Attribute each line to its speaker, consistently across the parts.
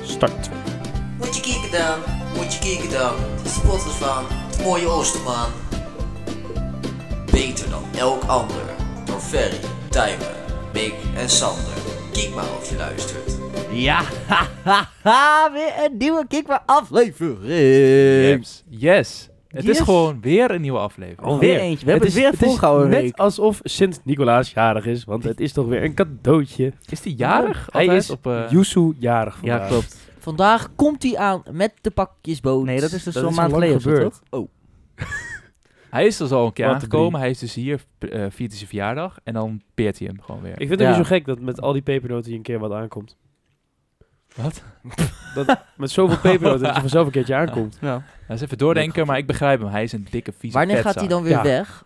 Speaker 1: start.
Speaker 2: Moet je kijken dan, moet je kijken dan. De spotters van het mooie Oosterman. Beter dan elk ander. Door Ferry, Tijmen, Mick en Sander. Kijk maar of je luistert.
Speaker 3: Ja, ha, ha, ha, weer een nieuwe Kikwa aflevering.
Speaker 4: Yes. Het
Speaker 3: Yes.
Speaker 4: is gewoon weer een nieuwe aflevering.
Speaker 3: Alweer eentje. We hebben het, weer volgehouden
Speaker 5: Net
Speaker 3: een week.
Speaker 5: alsof Sint-Nicolaas jarig is, want het is toch weer een cadeautje.
Speaker 4: Is die jarig?
Speaker 5: Hij
Speaker 4: Altijd
Speaker 5: is
Speaker 4: op, eh,
Speaker 5: Yusu jarig vandaag.
Speaker 4: ja, klopt.
Speaker 3: Vandaag komt hij aan met de pakjesboot. Nee, dat is dus
Speaker 5: Dat
Speaker 3: al een
Speaker 5: is
Speaker 3: maand
Speaker 5: al
Speaker 3: geleden
Speaker 5: lang
Speaker 3: of zo,
Speaker 5: gebeurd.
Speaker 3: toch? Oh,
Speaker 4: Hij is dus al een keer
Speaker 5: Wat
Speaker 4: aangekomen.
Speaker 5: drie.
Speaker 4: Hij is dus hier, eh viert hij zijn verjaardag. En dan peert hij hem gewoon weer.
Speaker 5: Ik vind het
Speaker 3: Ja.
Speaker 5: niet zo gek dat met al die pepernoten hier een keer wat aankomt.
Speaker 4: Wat?
Speaker 5: Met zoveel pepernoten dat je vanzelf een keertje aankomt.
Speaker 3: ja.
Speaker 4: Hij is Nou, even doordenken, maar ik begrijp hem. Hij is een dikke, vieze
Speaker 3: Wanneer gaat hij
Speaker 4: vetzak.
Speaker 3: dan weer
Speaker 5: Ja.
Speaker 3: weg?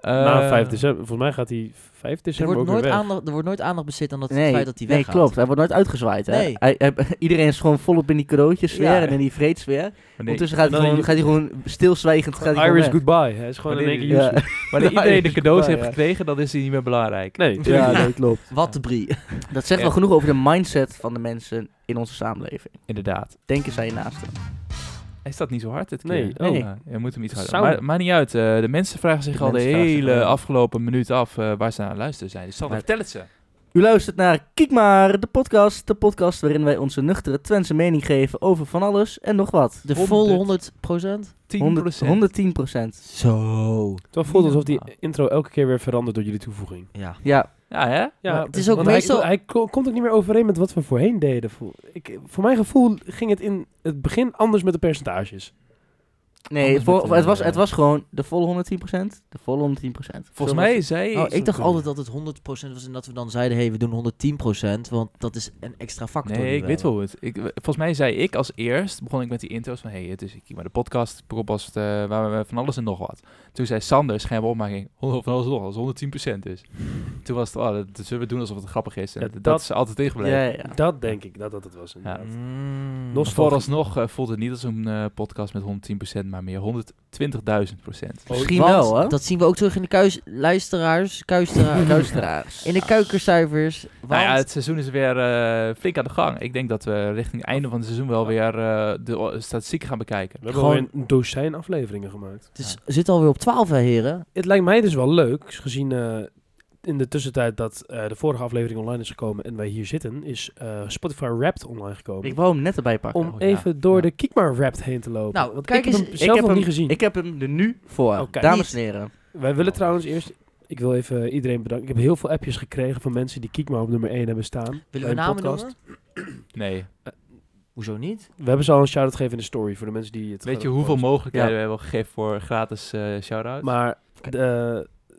Speaker 4: Eh,
Speaker 5: Na 5 december. Volgens mij gaat hij 5
Speaker 2: Er
Speaker 5: december
Speaker 2: wordt,
Speaker 5: ook weer
Speaker 2: nooit
Speaker 5: weg.
Speaker 2: aandacht, er wordt nooit aandacht besteed aan dat
Speaker 3: Nee,
Speaker 2: het feit dat hij
Speaker 3: nee
Speaker 2: weggaat.
Speaker 3: klopt. Hij wordt nooit uitgezwaaid. Hè?
Speaker 2: Nee.
Speaker 3: Hij, hij- iedereen is gewoon volop in die cadeautjes weer
Speaker 4: Ja.
Speaker 3: en in die vreedsfeer.
Speaker 4: wanneer-
Speaker 3: Ondertussen gaat hij,
Speaker 5: En dan
Speaker 3: gewoon,
Speaker 5: je-
Speaker 3: gaat hij gewoon stilzwijgend gaat hij gewoon
Speaker 5: Irish
Speaker 3: weg.
Speaker 5: goodbye. Hij is gewoon in
Speaker 4: Wanneer
Speaker 5: één keer
Speaker 4: die-
Speaker 5: Yuzu.
Speaker 3: Ja.
Speaker 4: Wanneer
Speaker 5: Ja,
Speaker 4: iedereen
Speaker 5: dat
Speaker 4: de
Speaker 5: is
Speaker 4: cadeaus
Speaker 5: waar,
Speaker 4: heeft
Speaker 5: ja.
Speaker 4: gekregen, dan is hij niet meer belangrijk.
Speaker 5: Nee,
Speaker 3: Ja,
Speaker 5: tuurlijk niet.
Speaker 3: nee, klopt.
Speaker 2: Wat de brie.
Speaker 3: Dat zegt wel
Speaker 4: Ja.
Speaker 3: genoeg over de mindset van de mensen in onze samenleving.
Speaker 4: Inderdaad.
Speaker 3: Denken zij naasten.
Speaker 4: Hij staat niet zo hard dit keer.
Speaker 5: Nee,
Speaker 3: oh.
Speaker 4: Ja, je moet hem iets harder.
Speaker 5: Zou-
Speaker 4: Maar, maar niet uit. eh, de mensen vragen zich
Speaker 3: De
Speaker 4: al de
Speaker 3: mensen vragen zich
Speaker 4: hele
Speaker 3: al-
Speaker 4: afgelopen minuut af eh, waar ze aan het luisteren zijn. Dus Sander,
Speaker 3: Maar-
Speaker 4: vertel het ze.
Speaker 3: U luistert naar Kiek maar, de podcast. De podcast waarin wij onze nuchtere Twentse mening geven over van alles en nog wat.
Speaker 2: De volle 100%?
Speaker 4: 10%.
Speaker 3: 100, 110 procent.
Speaker 2: Zo.
Speaker 5: Het voelt alsof die
Speaker 4: normaal.
Speaker 5: intro elke keer weer verandert door jullie toevoeging.
Speaker 2: Ja.
Speaker 3: Ja,
Speaker 4: Ja, hè?
Speaker 5: Ja,
Speaker 2: het is ook
Speaker 5: want
Speaker 2: meestal-
Speaker 5: Hij, hij ko- komt ook niet meer overeen met wat we voorheen deden. Vo- Ik, voor mijn gevoel ging het in het begin anders met de percentages.
Speaker 3: nee,
Speaker 4: Anders
Speaker 3: voor-
Speaker 4: met, eh,
Speaker 3: het, was, het was gewoon de volle 110 procent. De volle 110 procent.
Speaker 4: Volgens mij zei...
Speaker 2: Oh, ik dacht
Speaker 5: kunnen.
Speaker 2: altijd dat het 100% was en dat we dan zeiden, hé, hey, we doen 110%, want dat is een extra factor.
Speaker 4: Nee,
Speaker 2: die
Speaker 4: ik
Speaker 2: we hebben.
Speaker 4: weet wel hoe het. Ik, volgens mij zei ik als eerst, begon ik met die intro's van... hey, het is ik, maar de podcast, podcast eh, waar we van alles en nog wat. Toen zei Sander, schijnbaar opmaking, "Oh, van alles en nog wat, dat is 110% dus. Toen was het, oh, dat dat zullen we doen alsof het grappig is. En
Speaker 5: Ja,
Speaker 4: dat,
Speaker 5: dat-
Speaker 4: is altijd tegenblijven.
Speaker 3: Ja, ja, ja.
Speaker 5: Dat denk ik dat dat het was. inderdaad. Oh,
Speaker 2: Mm.
Speaker 5: Nog
Speaker 4: Vooralsnog eh, voelt het niet als een eh, podcast met 110%, maar meer 120.000%.
Speaker 3: Misschien
Speaker 2: Want
Speaker 3: wel, hè?
Speaker 2: Dat zien we ook terug in de kuis, luisteraars, kuisteraars,
Speaker 3: Luisteraars.
Speaker 2: in de kuikercijfers. Want
Speaker 4: Nou ja, het seizoen is weer eh, flink aan de gang. Ik denk dat we richting het einde van het seizoen wel weer eh, de o- statistiek gaan bekijken.
Speaker 5: We hebben
Speaker 2: Gewoon-
Speaker 5: alweer een dozijn afleveringen gemaakt.
Speaker 2: het is, zit alweer op 12, hè, heren.
Speaker 5: Het lijkt mij dus wel leuk, gezien eh, in de tussentijd dat eh, de vorige aflevering online is gekomen en wij hier zitten, is eh, Spotify Wrapped online gekomen.
Speaker 3: Ik wou hem net erbij pakken.
Speaker 5: om
Speaker 4: Oh, ja.
Speaker 5: even door
Speaker 4: Ja.
Speaker 5: de Kiekmaar Wrapped heen te lopen.
Speaker 2: Nou,
Speaker 5: Want
Speaker 2: kijk
Speaker 5: ik heb
Speaker 2: eens-
Speaker 5: hem
Speaker 2: ik
Speaker 5: zelf nog
Speaker 3: hem,
Speaker 5: niet gezien.
Speaker 3: Ik heb hem er nu voor.
Speaker 5: Oh, kijk.
Speaker 3: Dames en heren.
Speaker 5: Wij willen trouwens eerst... Ik wil even iedereen bedanken. Ik heb heel veel appjes gekregen van mensen die Kiekmaar op nummer 1 hebben staan.
Speaker 2: Willen
Speaker 5: bij
Speaker 2: we
Speaker 5: een
Speaker 2: namen
Speaker 5: podcast.
Speaker 2: noemen?
Speaker 4: Nee.
Speaker 2: Hoezo niet?
Speaker 5: We hebben ze al een shout-out gegeven in de story voor de mensen die het
Speaker 4: Weet je
Speaker 5: gewoon
Speaker 4: hoeveel
Speaker 5: posten.
Speaker 4: mogelijkheden
Speaker 3: Ja.
Speaker 4: we hebben gegeven voor gratis eh shout-outs?
Speaker 5: Maar eh,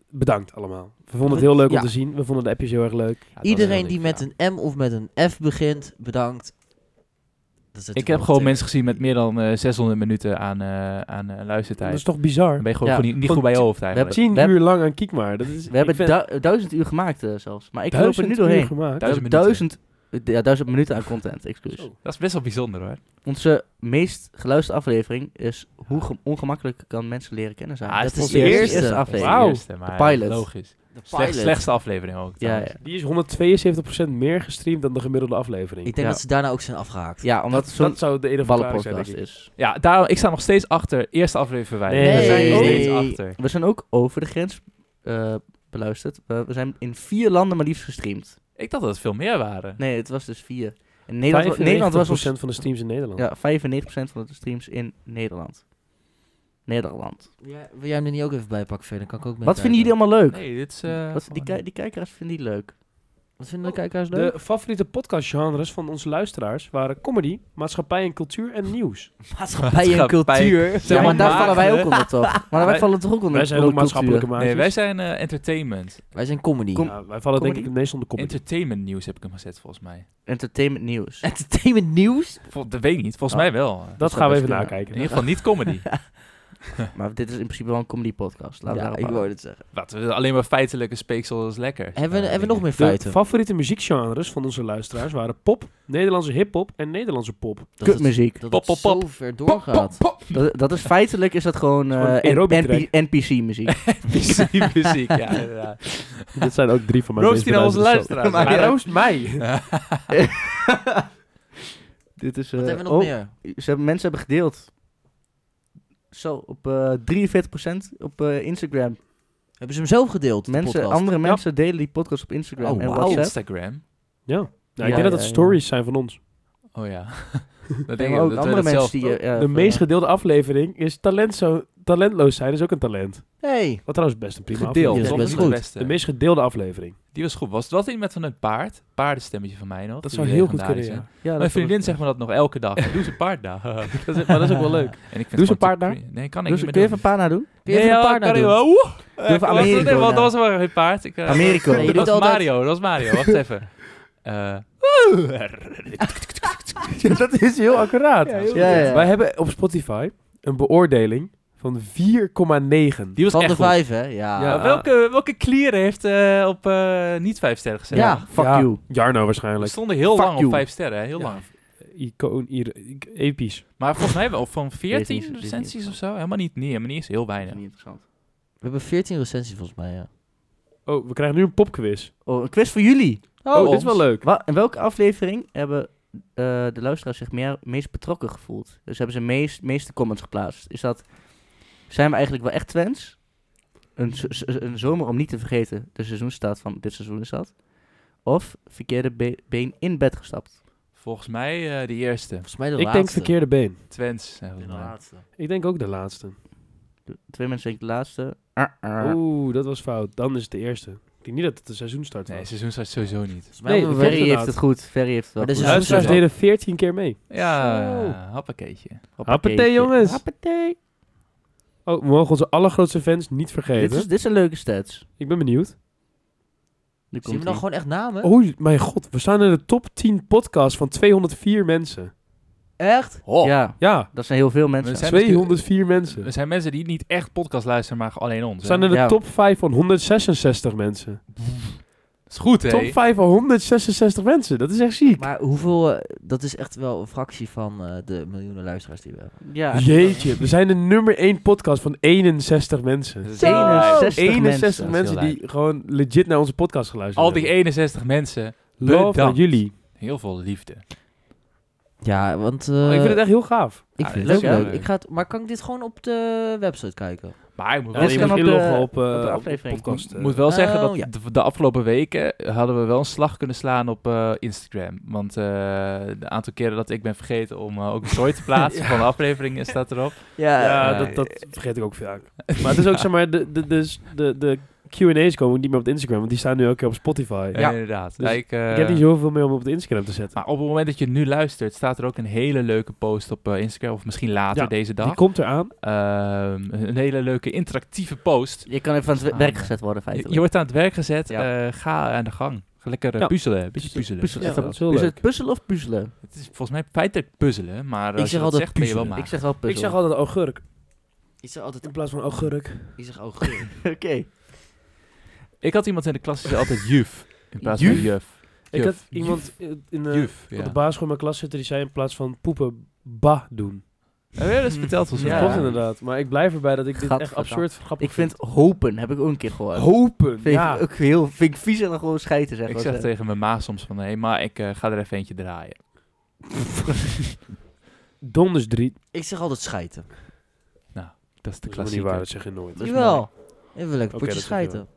Speaker 5: bedankt allemaal. We vonden het heel leuk
Speaker 2: Ja.
Speaker 5: om te zien. We vonden de appjes heel erg leuk.
Speaker 4: Ja, dat is heel
Speaker 2: Iedereen
Speaker 4: lief,
Speaker 2: die met
Speaker 4: ja.
Speaker 2: een M of met een F begint, bedankt. Dat is
Speaker 4: Ik
Speaker 2: natuurlijk
Speaker 4: heb
Speaker 2: wel
Speaker 4: gewoon
Speaker 2: een
Speaker 4: mensen gezien met meer dan eh, 600 minuten aan, eh, aan eh,
Speaker 5: Dat
Speaker 4: luistertijd.
Speaker 5: is toch bizar?
Speaker 4: Dan ben je gewoon
Speaker 3: Ja.
Speaker 4: niet, niet goed bij je hoofd eigenlijk.
Speaker 5: Tien
Speaker 3: we hebben-
Speaker 5: uur lang aan Kiekmaar. Dat is,
Speaker 3: We hebben
Speaker 5: ik vind
Speaker 3: du- duizend uur gemaakt eh, zelfs. Maar ik loop er
Speaker 5: duizend
Speaker 3: nu
Speaker 5: uur
Speaker 3: doorheen.
Speaker 5: gemaakt.
Speaker 3: We hebben
Speaker 4: Duizend
Speaker 3: duizend, dus. ja, duizend minuten aan content, excuus.
Speaker 5: Zo.
Speaker 4: Dat is best wel bijzonder hoor.
Speaker 3: Onze meest geluisterde aflevering is hoe ge- ongemakkelijk kan mensen leren kennen zijn.
Speaker 4: Ah,
Speaker 2: dat
Speaker 4: het
Speaker 2: is
Speaker 4: was
Speaker 2: de
Speaker 4: de
Speaker 2: eerste.
Speaker 3: eerste
Speaker 4: Dat is
Speaker 3: aflevering.
Speaker 5: Wauw.
Speaker 4: de eerste, maar
Speaker 3: De pilot.
Speaker 4: Logisch.
Speaker 2: De
Speaker 4: Slecht-
Speaker 2: pilot.
Speaker 4: slechtste aflevering ook.
Speaker 3: Ja,
Speaker 4: trouwens.
Speaker 3: ja.
Speaker 5: Die is 172% meer gestreamd dan de gemiddelde aflevering.
Speaker 2: Ik denk
Speaker 3: Ja.
Speaker 2: dat ze daarna ook zijn afgehaakt.
Speaker 3: ja, omdat
Speaker 5: dat,
Speaker 3: het zo'n
Speaker 5: dat zou de ene verklaring zijn, denk
Speaker 3: ballenpodcast
Speaker 5: ik.
Speaker 3: is.
Speaker 4: Ja, daarom, ik sta nog steeds achter. Eerste aflevering verwijderd.
Speaker 5: Nee,
Speaker 4: We zijn nog
Speaker 5: nee.
Speaker 4: steeds achter.
Speaker 3: We zijn ook over de grens eh, beluisterd. We, we zijn in vier landen maar liefst gestreamd.
Speaker 4: Ik dacht dat het veel meer waren.
Speaker 3: Nee, het was dus vier. En Nederland, Nederland was ons
Speaker 5: 95% van de streams in Nederland.
Speaker 3: ja, 95% van de streams in Nederland. Nederland.
Speaker 2: Ja, wil jij hem er niet ook even bij pakken, verder? Kan ik ook mee
Speaker 3: Wat vinden
Speaker 2: kijken.
Speaker 3: jullie allemaal leuk?
Speaker 4: Nee, dit is... eh,
Speaker 3: Wat, die,
Speaker 4: gewoon-
Speaker 3: ki- die kijkers vinden die leuk.
Speaker 2: Wat vinden de kijkers leuk?
Speaker 5: De favoriete podcastgenres van onze luisteraars waren comedy, maatschappij en cultuur en nieuws.
Speaker 3: Maatschappij en
Speaker 4: Maatschappij.
Speaker 3: cultuur. Ja,
Speaker 4: Zijn
Speaker 3: maar
Speaker 4: we
Speaker 3: daar
Speaker 4: maagden?
Speaker 3: vallen wij ook onder, toch? Maar wij
Speaker 4: Wij-
Speaker 3: vallen toch ook onder
Speaker 5: Wij zijn ook
Speaker 3: onder
Speaker 5: maatschappelijke
Speaker 3: cultuur.
Speaker 5: makers.
Speaker 4: Nee, wij zijn eh, entertainment.
Speaker 2: Wij zijn comedy.
Speaker 3: Com-
Speaker 5: Ja, wij vallen denk ik
Speaker 3: comedy?
Speaker 5: het meest onder comedy.
Speaker 4: Entertainment nieuws heb ik hem gezet volgens mij.
Speaker 3: Entertainment nieuws.
Speaker 2: Entertainment nieuws?
Speaker 4: Vol- dat weet ik niet. Volgens
Speaker 3: Oh.
Speaker 4: mij wel.
Speaker 5: dat
Speaker 3: zou
Speaker 5: gaan we
Speaker 3: best
Speaker 5: even
Speaker 3: kunnen.
Speaker 4: In
Speaker 5: nakijken.
Speaker 4: ieder geval niet comedy.
Speaker 3: Maar dit is in principe wel een comedy podcast. Laten
Speaker 2: ja,
Speaker 3: we
Speaker 2: ik
Speaker 3: daarop
Speaker 2: wou
Speaker 3: houden.
Speaker 2: dit zeggen.
Speaker 4: Wat, eh, alleen maar feitelijke speeksel is lekker.
Speaker 2: Hebben we,
Speaker 4: Eh,
Speaker 2: hebben we nog meer
Speaker 5: De
Speaker 2: feiten?
Speaker 5: favoriete muziekgenres van onze luisteraars waren pop, Nederlandse hip-hop en Nederlandse pop.
Speaker 2: Dat het-
Speaker 3: Kutmuziek.
Speaker 2: Dat
Speaker 4: Pop,
Speaker 2: het
Speaker 4: pop, pop.
Speaker 2: zo ver doorgaat.
Speaker 3: Dat, dat is feitelijk is dat gewoon
Speaker 5: Het is gewoon
Speaker 3: eh, N-
Speaker 5: aerobic
Speaker 3: NP- NPC-muziek.
Speaker 4: Muziek, muziek, ja. inderdaad.
Speaker 5: Dit zijn ook drie van mijn
Speaker 4: Roost die naar onze luisteraars.
Speaker 5: Maar
Speaker 4: Maar ja.
Speaker 5: roost mij.
Speaker 3: Dit is,
Speaker 6: Wat
Speaker 3: eh,
Speaker 6: hebben we nog
Speaker 3: oh,
Speaker 6: meer?
Speaker 3: Ze hebben, mensen hebben gedeeld. Zo, op eh 43% op eh, Instagram.
Speaker 6: Hebben ze hem zelf gedeeld? de
Speaker 3: Mensen,
Speaker 6: podcast?
Speaker 3: andere
Speaker 5: Ja.
Speaker 3: mensen delen die podcast op Instagram
Speaker 4: Oh,
Speaker 3: en
Speaker 4: wauw.
Speaker 3: WhatsApp.
Speaker 4: Instagram.
Speaker 5: Ja. Nou, ik
Speaker 3: Ja,
Speaker 5: denk dat
Speaker 3: ja,
Speaker 5: het
Speaker 3: ja.
Speaker 5: stories zijn van ons.
Speaker 4: Oh ja. dat
Speaker 3: En
Speaker 4: denk ik
Speaker 3: ook
Speaker 4: dat
Speaker 3: andere mensen die... eh, ja,
Speaker 5: de
Speaker 3: van,
Speaker 5: meest
Speaker 3: eh,
Speaker 5: gedeelde aflevering is talent zo, talentloos zijn is ook een talent.
Speaker 6: Hey.
Speaker 5: Wat trouwens best een prima
Speaker 4: Gedeeld.
Speaker 6: Die
Speaker 5: aflevering
Speaker 6: is
Speaker 4: Dat
Speaker 6: best
Speaker 4: was niet
Speaker 6: goed.
Speaker 4: de beste.
Speaker 5: De meest gedeelde aflevering.
Speaker 4: Die was goed. Was dat niet met van een paard? Paardenstemmetje van mij nog.
Speaker 5: Dat
Speaker 4: Die
Speaker 5: zou heel goed
Speaker 4: legendarische.
Speaker 5: kunnen, ja.
Speaker 3: ja, dat
Speaker 4: Mijn
Speaker 3: was-
Speaker 4: vriendin zegt me dat nog elke dag. Doe ze een paard daar. En ik
Speaker 5: Dat is, maar dat is ook wel leuk. Doe
Speaker 4: vind
Speaker 5: ze een
Speaker 4: het gewoon
Speaker 5: paard
Speaker 4: te
Speaker 5: daar?
Speaker 4: cre- Nee, kan ik
Speaker 3: Doe
Speaker 4: niet
Speaker 3: ze-
Speaker 4: meer
Speaker 3: kun je even
Speaker 4: doen.
Speaker 3: een paar nadoen?
Speaker 6: Kun je even
Speaker 4: ja,
Speaker 6: een paar
Speaker 4: kan
Speaker 6: nadoen?
Speaker 4: ik wel. Oeh.
Speaker 3: even
Speaker 4: Ik was-
Speaker 3: Americo
Speaker 4: nee, want
Speaker 3: na.
Speaker 4: dat was wel geen paard. Ik, eh,
Speaker 3: Americo.
Speaker 6: Nee, je doet
Speaker 4: dat was
Speaker 6: altijd-
Speaker 4: Mario. Dat was Mario. Wacht even. Eh,
Speaker 5: dat is heel accuraat.
Speaker 4: Ja, heel
Speaker 3: Ja, ja, ja.
Speaker 5: Wij hebben op Spotify een beoordeling van 4,9.
Speaker 4: die was
Speaker 6: Van
Speaker 4: echt
Speaker 6: de
Speaker 4: goed.
Speaker 6: vijf, hè? Ja.
Speaker 5: Ja.
Speaker 4: Ja, welke, welke klier heeft eh, op eh, niet vijf sterren gezet?
Speaker 6: Ja.
Speaker 3: Fuck
Speaker 5: Ja,
Speaker 3: you.
Speaker 5: Jarno
Speaker 4: We
Speaker 5: waarschijnlijk.
Speaker 4: stonden heel
Speaker 3: Fuck
Speaker 4: lang
Speaker 3: you.
Speaker 4: op vijf sterren. hè, Heel
Speaker 5: Ja.
Speaker 4: lang.
Speaker 5: Dus Icoon, hier, ik- episch.
Speaker 4: Maar volgens mij hebben we van 14
Speaker 3: 14
Speaker 4: recensies of zo. Helemaal niet. Nee, helemaal niet eens. Heel
Speaker 3: Dat is
Speaker 4: weinig.
Speaker 3: niet interessant.
Speaker 6: We hebben 14 recensies volgens mij, ja.
Speaker 5: Oh, we krijgen nu een popquiz.
Speaker 3: Oh, een quiz voor jullie.
Speaker 5: Oh, dit
Speaker 4: ons.
Speaker 5: is wel leuk.
Speaker 3: Wa- in welke aflevering hebben eh, de luisteraars zich meer, meest betrokken gevoeld? Dus hebben ze meest, meeste comments geplaatst? Is dat, zijn we eigenlijk wel echt Twents? Een, z- z- een zomer om niet te vergeten, de seizoenstaat van dit seizoen is dat. Of verkeerde be- been in bed gestapt.
Speaker 4: Volgens mij eh, de eerste.
Speaker 6: Volgens mij de
Speaker 5: Ik
Speaker 6: laatste.
Speaker 5: denk verkeerde been.
Speaker 4: Twents. eh, volgens mij.
Speaker 5: Ik denk ook de laatste.
Speaker 3: De- Twee mensen denk ik de laatste. Ah, ah.
Speaker 5: Oeh, dat was fout. Dan is het de eerste. Ik denk niet dat het de seizoenstart was.
Speaker 4: Nee, seizoen start sowieso niet.
Speaker 6: Volgens mij
Speaker 5: Nee,
Speaker 6: hebben we
Speaker 5: verkeerde
Speaker 3: Ferry heeft
Speaker 5: inderdaad.
Speaker 3: het goed. Ferry heeft het wel
Speaker 6: Maar dit is
Speaker 3: goed.
Speaker 6: een
Speaker 5: Luisteraars
Speaker 4: Zo.
Speaker 5: deden 14 keer mee. Zo.
Speaker 4: Ja, happakeetje.
Speaker 5: Hoppatee, jongens.
Speaker 3: Hoppatee.
Speaker 5: Oh, we mogen onze allergrootste fans niet
Speaker 3: Dit
Speaker 5: vergeten.
Speaker 3: is, dit zijn leuke stats.
Speaker 5: Ik ben benieuwd.
Speaker 3: Nu
Speaker 6: Zien
Speaker 3: komt
Speaker 6: we dan
Speaker 3: die.
Speaker 6: gewoon echt namen?
Speaker 5: Oh, mijn god. We staan in de top 10 podcast van 204 mensen.
Speaker 6: Echt?
Speaker 4: Ho.
Speaker 3: Ja,
Speaker 5: Ja,
Speaker 3: dat zijn heel veel
Speaker 4: Oh. We
Speaker 3: mensen.
Speaker 4: zijn
Speaker 5: 204 mensen.
Speaker 4: Er zijn mensen die niet echt podcast luisteren, maar alleen ons.
Speaker 5: We
Speaker 4: hè?
Speaker 5: staan in de
Speaker 3: Ja.
Speaker 5: top 5 van 166 mensen.
Speaker 4: Dat is goed, hè?
Speaker 5: Top 5 van 166 mensen. Dat is echt ziek.
Speaker 6: Maar hoeveel... eh, dat is echt wel een fractie van eh, de miljoenen luisteraars die we hebben.
Speaker 3: Ja,
Speaker 5: Jeetje, we zijn de nummer 1 podcast van 61 mensen.
Speaker 4: Dat is
Speaker 3: Zo.
Speaker 4: heel lijp.
Speaker 3: 61
Speaker 5: 61
Speaker 3: mensen.
Speaker 5: mensen die gewoon legit naar onze podcast geluisterd
Speaker 4: Al die
Speaker 5: hebben.
Speaker 4: 61 mensen,
Speaker 5: Love aan
Speaker 4: bedankt.
Speaker 5: jullie.
Speaker 4: heel veel liefde.
Speaker 6: Ja, want... eh,
Speaker 5: Oh, ik vind het echt heel gaaf.
Speaker 6: ik
Speaker 4: Ja,
Speaker 6: vind het
Speaker 4: dit
Speaker 6: ook
Speaker 4: is wel
Speaker 6: leuk.
Speaker 4: leuk.
Speaker 6: Ik ga het, maar kan ik dit gewoon op de website kijken?
Speaker 4: Maar ik moet
Speaker 3: Ja,
Speaker 4: wel,
Speaker 3: dit
Speaker 5: Alleen
Speaker 4: ik
Speaker 3: kan
Speaker 5: moet
Speaker 3: op de-
Speaker 5: inloggen op, eh,
Speaker 3: op de
Speaker 5: op
Speaker 3: aflevering.
Speaker 5: podcast, eh.
Speaker 4: moet wel zeggen dat
Speaker 6: Oh, ja.
Speaker 4: de, de afgelopen weken hadden we wel een slag kunnen slaan op eh, Instagram. Want eh de aantal keren dat ik ben vergeten om eh, ook een story te plaatsen van de aflevering eh, staat erop.
Speaker 5: Ja,
Speaker 4: eh,
Speaker 5: dat, dat vergeet ik ook vaak. Maar het is ook, zeg maar, de, de, dus de, de Q&A's komen niet meer op het Instagram, want die staan nu ook op Spotify.
Speaker 4: Ja, inderdaad.
Speaker 5: Dus
Speaker 4: Ja, ik, eh,
Speaker 5: Ik heb niet zoveel meer om op het Instagram te zetten.
Speaker 4: maar op het moment dat je nu luistert, staat er ook een hele leuke post op eh, Instagram. Of misschien later
Speaker 5: Ja,
Speaker 4: deze dag.
Speaker 5: Die komt eraan.
Speaker 4: Ehm, een hele leuke interactieve post.
Speaker 3: Je kan even aan het
Speaker 4: Ah,
Speaker 3: werk
Speaker 4: ja.
Speaker 3: gezet worden,
Speaker 4: Je,
Speaker 3: feitelijk.
Speaker 4: je wordt aan het werk gezet.
Speaker 3: Ja.
Speaker 4: eh, ga aan de gang. Ga lekker eh,
Speaker 5: Ja.
Speaker 4: puzzelen. Een beetje puzzelen.
Speaker 3: puzzelen.
Speaker 5: Ja,
Speaker 4: Even-
Speaker 5: dat is heel
Speaker 3: is het
Speaker 5: leuk.
Speaker 3: puzzel of puzzelen?
Speaker 4: Het is volgens mij feitelijk puzzelen, maar
Speaker 6: Ik
Speaker 4: als je
Speaker 6: zeg
Speaker 4: dat
Speaker 6: altijd
Speaker 4: zegt, ben je wel
Speaker 6: puzzelen.
Speaker 4: maar.
Speaker 3: Ik zeg wel puzzel.
Speaker 5: Ik zeg altijd augurk
Speaker 6: Ik zeg altijd...
Speaker 5: in plaats van augurk.
Speaker 6: Ik zeg ook geur.
Speaker 3: Oké.
Speaker 4: Ik had iemand in de klas die zei altijd juf. In plaats
Speaker 3: Juf?
Speaker 4: van juf.
Speaker 5: Ik
Speaker 4: Juf.
Speaker 5: had iemand in de,
Speaker 4: Juf,
Speaker 5: op
Speaker 4: ja.
Speaker 5: de basisschool in mijn klas zitten die zei in plaats van poepen ba doen.
Speaker 4: Heb jij Oh dat eens verteld? volgens
Speaker 5: Dat
Speaker 3: Ja.
Speaker 4: mij?
Speaker 5: klopt inderdaad. Maar ik blijf erbij dat ik dit echt
Speaker 3: Gadverdamme.
Speaker 5: absurd grappig
Speaker 3: Ik vind hopen, heb ik ook een keer gehoord.
Speaker 5: vind. Hopen. eh?
Speaker 3: Vind
Speaker 5: Ja.
Speaker 3: ik, ook heel, vind ik vies en dan gewoon scheiden zeggen.
Speaker 4: Ik zeg tegen mijn ma soms van, hé hey, ma, ik eh, ga er even eentje draaien.
Speaker 5: Donders drie.
Speaker 6: Ik zeg altijd schijten.
Speaker 4: Dat is de
Speaker 5: Dat is helemaal niet
Speaker 4: klassieker.
Speaker 5: waar, dat zeg je nooit.
Speaker 3: is
Speaker 6: Jawel. Even lekker
Speaker 5: Oké,
Speaker 6: potje
Speaker 5: dat zeg je wel.
Speaker 6: schijten.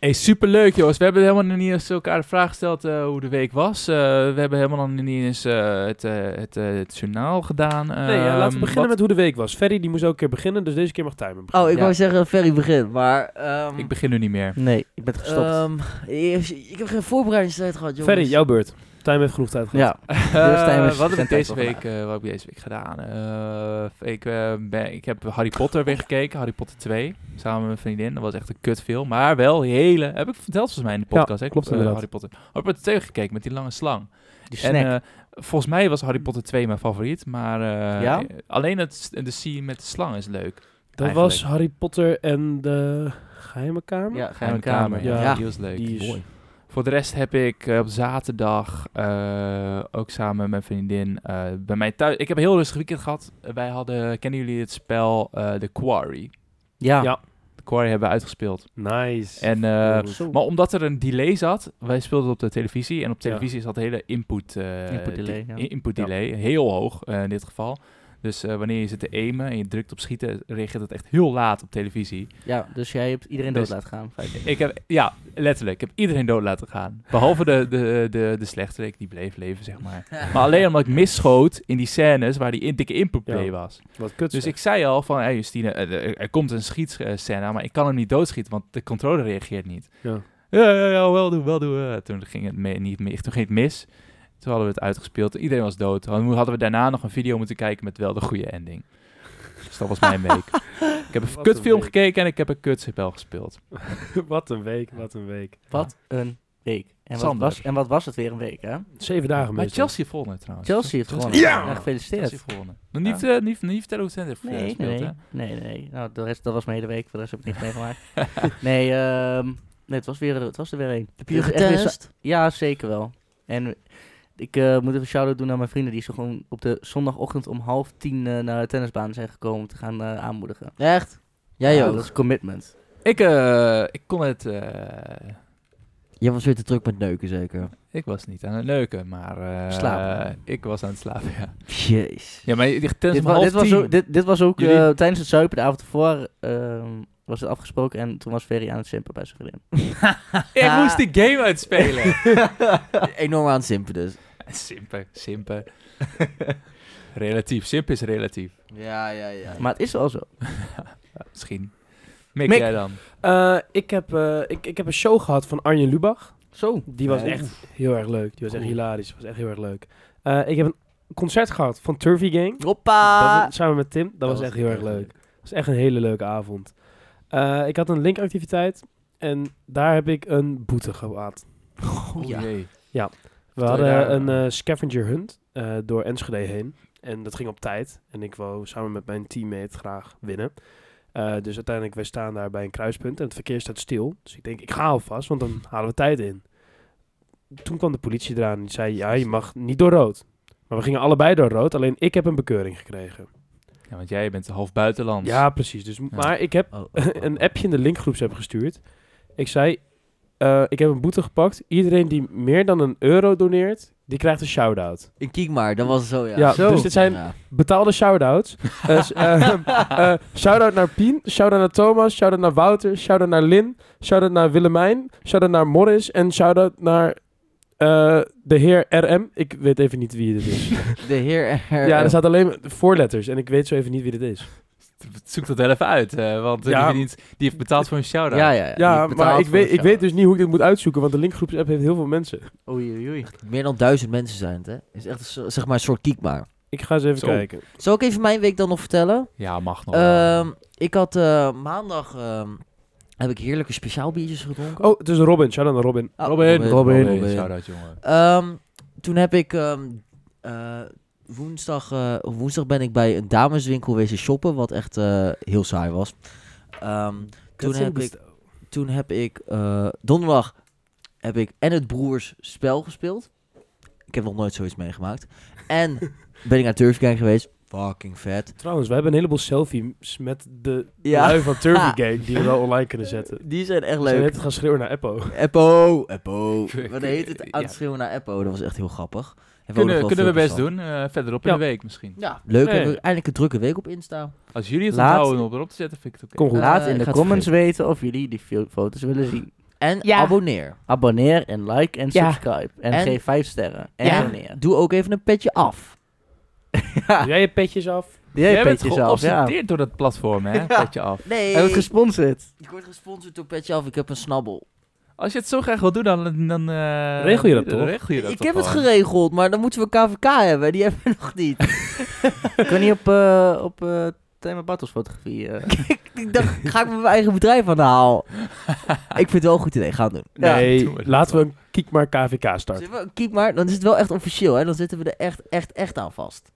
Speaker 4: Hey, superleuk jongens. We hebben helemaal nog niet eens elkaar de vraag gesteld eh, hoe de week was. Eh, we hebben helemaal nog niet eens eh, het, eh, het, eh, het journaal gedaan.
Speaker 5: Nee, ja, laten we
Speaker 4: Ehm,
Speaker 5: beginnen
Speaker 4: wat-
Speaker 5: met hoe de week was. Ferry die moest ook een keer beginnen, dus deze keer mag Timer beginnen.
Speaker 6: Oh, ik
Speaker 3: Ja.
Speaker 6: wou zeggen Ferry begin, maar... ehm,
Speaker 4: Ik begin nu niet meer.
Speaker 3: Nee, ik ben gestopt.
Speaker 6: ehm, ik, ik heb geen voorbereidingstijd gehad, jongens.
Speaker 5: Ferry, jouw beurt. Time heeft genoeg tijd gehad.
Speaker 3: ja,
Speaker 4: Eh,
Speaker 3: Stijn was-
Speaker 4: wat, heb
Speaker 3: zijn
Speaker 4: ik deze
Speaker 3: tijd wel
Speaker 4: week, eh, wat heb ik deze week gedaan? Eh, ik, eh, ben, ik heb Harry Potter weer gekeken, Harry Potter 2, samen met mijn vriendin. Dat was echt een kutfilm, maar wel hele... Heb ik verteld volgens mij in de
Speaker 5: Ja,
Speaker 4: podcast, hè?
Speaker 5: klopt
Speaker 4: Eh,
Speaker 5: inderdaad.
Speaker 4: Harry Potter. Harry Potter 2 gekeken met die lange slang.
Speaker 3: die
Speaker 4: En
Speaker 3: snack.
Speaker 4: eh, volgens mij was Harry Potter 2 mijn favoriet, maar eh,
Speaker 3: Ja?
Speaker 4: eh, alleen het, de scene met de slang is leuk.
Speaker 5: Dat
Speaker 4: Eigenlijk.
Speaker 5: was Harry Potter en de geheime kamer.
Speaker 3: ja, geheime kamer.
Speaker 4: ja.
Speaker 3: Ja.
Speaker 5: Ja.
Speaker 4: Die was leuk.
Speaker 5: Die is-
Speaker 4: Mooi. Voor de rest heb ik eh, op zaterdag eh, ook samen met mijn vriendin eh, bij mij thuis... Ik heb een heel rustig weekend gehad. Eh, wij hadden... Kennen jullie het spel eh The Quarry?
Speaker 3: Ja.
Speaker 5: Ja.
Speaker 4: The Quarry hebben we uitgespeeld.
Speaker 5: Nice.
Speaker 4: En, eh,
Speaker 3: Zo.
Speaker 4: Maar omdat er een delay zat, wij speelden op de televisie. En op
Speaker 5: Ja.
Speaker 4: televisie is dat hele input, eh,
Speaker 3: Input delay,
Speaker 4: di-
Speaker 3: ja.
Speaker 4: in- input
Speaker 5: Ja.
Speaker 4: delay heel hoog eh, in dit geval. Dus eh, wanneer je zit te aimen en je drukt op schieten, reageert het echt heel laat op televisie.
Speaker 3: Ja, dus jij hebt iedereen
Speaker 4: Dus-
Speaker 3: dood laten gaan. feitelijk.
Speaker 4: Ik heb, ja, letterlijk. Ik heb iedereen dood laten gaan. Behalve de, de, de, de slechterik, die bleef leven, zeg maar. Maar alleen omdat ik misschoot in die scènes waar die in, dikke input
Speaker 5: Ja.
Speaker 4: play was.
Speaker 5: Wat kut.
Speaker 4: Dus
Speaker 5: zeg.
Speaker 4: ik zei al van, hey Justine, eh, er, er komt een schietscène aan, maar ik kan hem niet doodschieten, want de controller reageert niet.
Speaker 5: Ja.
Speaker 4: Ja, ja, ja, wel doen, wel doen. eh. Toen ging het me- niet, meer- toen ging het mis. Toen hadden we het uitgespeeld. Iedereen was dood. Toen hadden we daarna nog een video moeten kijken met wel de goede ending. Dus dat was mijn week. Ik heb een
Speaker 5: Wat
Speaker 4: kutfilm
Speaker 5: een week.
Speaker 4: gekeken en ik heb een kutspel gespeeld.
Speaker 5: wat een week, wat een week.
Speaker 3: Wat een week. En wat,
Speaker 4: Sander.
Speaker 3: was, en wat was het weer een week, hè?
Speaker 5: Zeven dagen
Speaker 4: Maar
Speaker 5: meestal.
Speaker 4: Chelsea gewonnen trouwens.
Speaker 3: Chelsea heeft
Speaker 4: Chelsea-
Speaker 3: gewonnen.
Speaker 4: Ja!
Speaker 3: Ja, gefeliciteerd.
Speaker 4: Chelsea gewonnen. Nog Niet, eh, niet, niet vertellen hoe het heeft eh,
Speaker 3: Nee,
Speaker 4: gespeeld,
Speaker 3: nee,
Speaker 4: hè?
Speaker 3: nee, nee, nee. Nou, de rest, dat was mijn hele week. Voor de rest heb ik niks meegemaakt. nee, ehm, nee, het was, weer, het was er weer één.
Speaker 2: Heb je
Speaker 3: Echt weer zo-
Speaker 2: getest?
Speaker 3: Ja, zeker wel. En ik eh, moet even een shout-out doen aan mijn vrienden die zo gewoon op de zondagochtend om half tien eh, naar de tennisbaan zijn gekomen om te gaan eh, aanmoedigen.
Speaker 2: Echt? Jij
Speaker 3: Ja,
Speaker 2: ook.
Speaker 3: Dat is commitment.
Speaker 4: Ik, eh, ik kon het... eh,
Speaker 2: Jij was weer te druk met neuken, zeker.
Speaker 4: Ik was niet aan het neuken, maar... eh,
Speaker 3: Slapen.
Speaker 4: Ik was aan het slapen, ja.
Speaker 2: Jeez.
Speaker 4: Ja, maar je ligt tennis
Speaker 3: Dit,
Speaker 4: om
Speaker 3: wa-
Speaker 4: half
Speaker 3: dit, was
Speaker 4: tien.
Speaker 3: ook, dit, dit was ook eh,
Speaker 4: Jullie-
Speaker 3: tijdens het zuipen de avond ervoor ehm, was het afgesproken en toen was Ferry aan het simpen bij zijn vriendin.
Speaker 4: Ik moest
Speaker 3: Ah.
Speaker 4: die game uitspelen.
Speaker 2: Enorm aan het simpen dus.
Speaker 4: simpen, simpen. relatief, simp is relatief.
Speaker 2: Ja, ja, ja.
Speaker 3: Maar het is wel zo.
Speaker 4: Ja, misschien. Mik,
Speaker 5: Mik.
Speaker 4: jij dan?
Speaker 5: Eh, ik, heb, eh, ik, ik heb een show gehad van Arjen Lubach.
Speaker 3: Zo.
Speaker 5: Die was
Speaker 3: Ja.
Speaker 5: echt heel erg leuk. Die was echt
Speaker 3: Cool.
Speaker 5: hilarisch. Was echt heel erg leuk. Eh, ik heb een concert gehad van Turvy Gang. Dat
Speaker 2: Hoppa!
Speaker 5: was- samen met Tim. Dat, was, echt heel erg leuk. Dat was echt een hele leuke avond. Eh, ik had een linkactiviteit en daar heb ik een boete gehad.
Speaker 4: Oh
Speaker 3: ja.
Speaker 4: jee.
Speaker 5: We
Speaker 4: Vertel je
Speaker 5: hadden
Speaker 4: daar-
Speaker 5: een eh, scavenger hunt eh, door Enschede heen. En dat ging op tijd. En ik wou samen met mijn teammate graag winnen. Eh, dus uiteindelijk, wij staan daar bij een kruispunt en het verkeer staat stil. Dus ik denk, ik ga alvast, want dan halen we tijd in. Toen kwam de politie eraan en die zei, ja, je mag niet door rood. Maar we gingen allebei door rood, alleen ik heb een bekeuring gekregen.
Speaker 4: Ja, want jij bent half buitenlands.
Speaker 5: Ja, precies. Dus, Maar ik heb
Speaker 2: Oh, oh, oh,
Speaker 5: een
Speaker 2: oh.
Speaker 5: appje in de linkgroeps heb gestuurd. Ik zei, eh, ik heb een boete gepakt. Iedereen die meer dan een euro doneert, die krijgt een shout-out.
Speaker 2: In Kiekmaar, dat was het zo, ja.
Speaker 5: Ja,
Speaker 2: Zo.
Speaker 5: dus dit zijn-
Speaker 2: Ja.
Speaker 5: Betaalde shout-outs. Eh, s- eh, eh, shout-out naar Pien, shout-out naar Thomas, shout-out naar Wouter, shout-out naar Lin, shout-out naar Willemijn, shout-out naar Morris en shout-out naar eh, de heer RM. Ik weet even niet wie dit is.
Speaker 2: De heer...
Speaker 5: ja, er staat alleen maar voorletters en ik weet zo even niet wie dit is.
Speaker 4: Zoek dat wel even uit, eh, want eh,
Speaker 5: Ja.
Speaker 4: die, verdient- die heeft betaald voor een
Speaker 2: Ja,
Speaker 4: shout-out.
Speaker 2: ja. ja,
Speaker 5: Ja,
Speaker 2: Die
Speaker 5: maar
Speaker 2: betaalt
Speaker 5: ik
Speaker 2: voor
Speaker 5: weet,
Speaker 2: een
Speaker 5: ik weet
Speaker 2: shout-out.
Speaker 5: dus niet hoe ik dit moet uitzoeken, want de linkgroeps-app heeft heel veel mensen.
Speaker 3: Oei, oei, oei.
Speaker 2: Meer dan duizend mensen zijn het, hè? is echt een so- zeg maar een soort Kiekmaar.
Speaker 5: Ik ga eens even
Speaker 4: Zo.
Speaker 5: kijken.
Speaker 2: Zal ik even mijn week dan nog vertellen?
Speaker 4: Ja, mag nog wel.
Speaker 2: Ehm, ik had eh, maandag ehm, heb ik heerlijke speciaal biertjes gedronken.
Speaker 5: Oh, het is Robin. Shout-out naar Robin.
Speaker 2: Oh,
Speaker 4: Robin,
Speaker 5: Robin.
Speaker 2: Robin.
Speaker 4: Shout-out, jongen.
Speaker 2: Ehm, toen heb ik ehm, eh, woensdag, eh, op woensdag ben ik bij een dameswinkel wezen shoppen, wat echt eh, heel saai was. Ehm, toen, heb ik, toen heb ik eh, donderdag heb ik en het broers spel gespeeld. Ik heb nog nooit zoiets meegemaakt. En ben ik naar Turfgang geweest. Fucking vet.
Speaker 5: Trouwens, wij hebben een heleboel selfies met de
Speaker 2: Ja.
Speaker 5: lui van Turvy Gang die we wel online kunnen zetten.
Speaker 2: Die zijn echt
Speaker 5: Ze
Speaker 2: leuk.
Speaker 5: net gaan schreeuwen naar Eppo.
Speaker 2: Eppo, Eppo.
Speaker 4: Kun-
Speaker 2: Wat heet het?
Speaker 4: ja.
Speaker 2: Aan het schreeuwen naar Eppo. Dat was echt heel grappig. Hebben we ook nog wel
Speaker 4: Kunnen, kunnen we best
Speaker 2: filmpjes van.
Speaker 4: doen, eh, verderop in
Speaker 5: Ja.
Speaker 4: de week misschien.
Speaker 2: Ja, leuk.
Speaker 5: Nee.
Speaker 2: Hebben we eindelijk een drukke week op Insta.
Speaker 4: Als jullie het
Speaker 3: Laat-
Speaker 4: onthouden om erop te zetten, vind ik het oké.
Speaker 5: Kom goed.
Speaker 3: Laat
Speaker 2: Eh,
Speaker 3: in
Speaker 2: ik
Speaker 3: de
Speaker 2: ga het
Speaker 3: comments weten of jullie die fo- foto's willen zien.
Speaker 2: En
Speaker 3: Ja.
Speaker 2: abonneer.
Speaker 3: Abonneer en like en
Speaker 2: Ja.
Speaker 3: subscribe. En,
Speaker 2: En-
Speaker 3: geef 5 sterren. En
Speaker 2: Ja.
Speaker 3: doneer.
Speaker 2: Doe ook even een petje af.
Speaker 5: Doe jij je petjes af?
Speaker 3: Jij,
Speaker 4: Jij bent
Speaker 3: bent jezelf, ja.
Speaker 4: geobsedeerd door dat platform, hè? Pet je af.
Speaker 2: Nee.
Speaker 3: Heb het gesponsord.
Speaker 2: ik word gesponsord door Petje Af. Ik heb een snabbel.
Speaker 4: Als je het zo graag wil doen, dan... dan eh,
Speaker 5: Regel je dat
Speaker 4: dan
Speaker 5: toch?
Speaker 4: regel je dat
Speaker 2: Ik
Speaker 4: toch
Speaker 2: heb het
Speaker 4: gewoon.
Speaker 2: geregeld, maar dan moeten we KVK hebben. Die hebben we nog niet.
Speaker 3: Kan niet op, eh, op eh, Thema Battles fotografie. eh.
Speaker 2: ik dacht, ga ik met mijn eigen bedrijf aan de haal. ik vind het wel een goed idee. Gaan doen.
Speaker 3: Ja,
Speaker 5: nee,
Speaker 4: doe maar.
Speaker 5: laten we een Kiek maar KVK starten.
Speaker 2: Zullen we- Kiek maar, dan is het wel echt officieel. Hè? Dan zitten we er echt, echt, echt aan vast.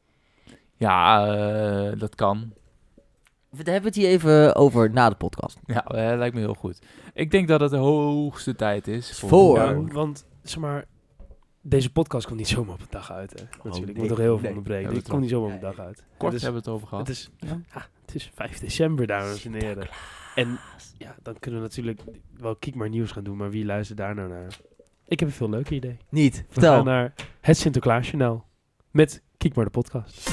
Speaker 4: Ja, eh, dat kan.
Speaker 2: We hebben het hier even over na de podcast.
Speaker 4: Ja, eh, lijkt me heel goed. Ik denk dat het de hoogste tijd is
Speaker 2: Voor.
Speaker 5: Ja, want, zeg maar, Deze podcast komt niet zomaar op een dag uit,
Speaker 4: Oh,
Speaker 5: hè? Natuurlijk, ik
Speaker 2: nee,
Speaker 5: moet nog heel veel
Speaker 2: nee.
Speaker 5: onderbreken.
Speaker 4: Hebben we
Speaker 5: Dit komt niet zomaar op een dag uit.
Speaker 4: Kort
Speaker 5: Het is-
Speaker 4: hebben we het over gehad.
Speaker 5: Het is,
Speaker 3: Ja.
Speaker 5: ah, het is 5 december, dames en heren. En ja, dan kunnen we natuurlijk wel kiek maar nieuws gaan doen, maar wie luistert daar nou naar? Ik heb een veel leuker idee.
Speaker 2: Niet.
Speaker 5: We gaan
Speaker 2: Vertel.
Speaker 5: naar het Sinterklaasjournaal met Kiek maar de podcast.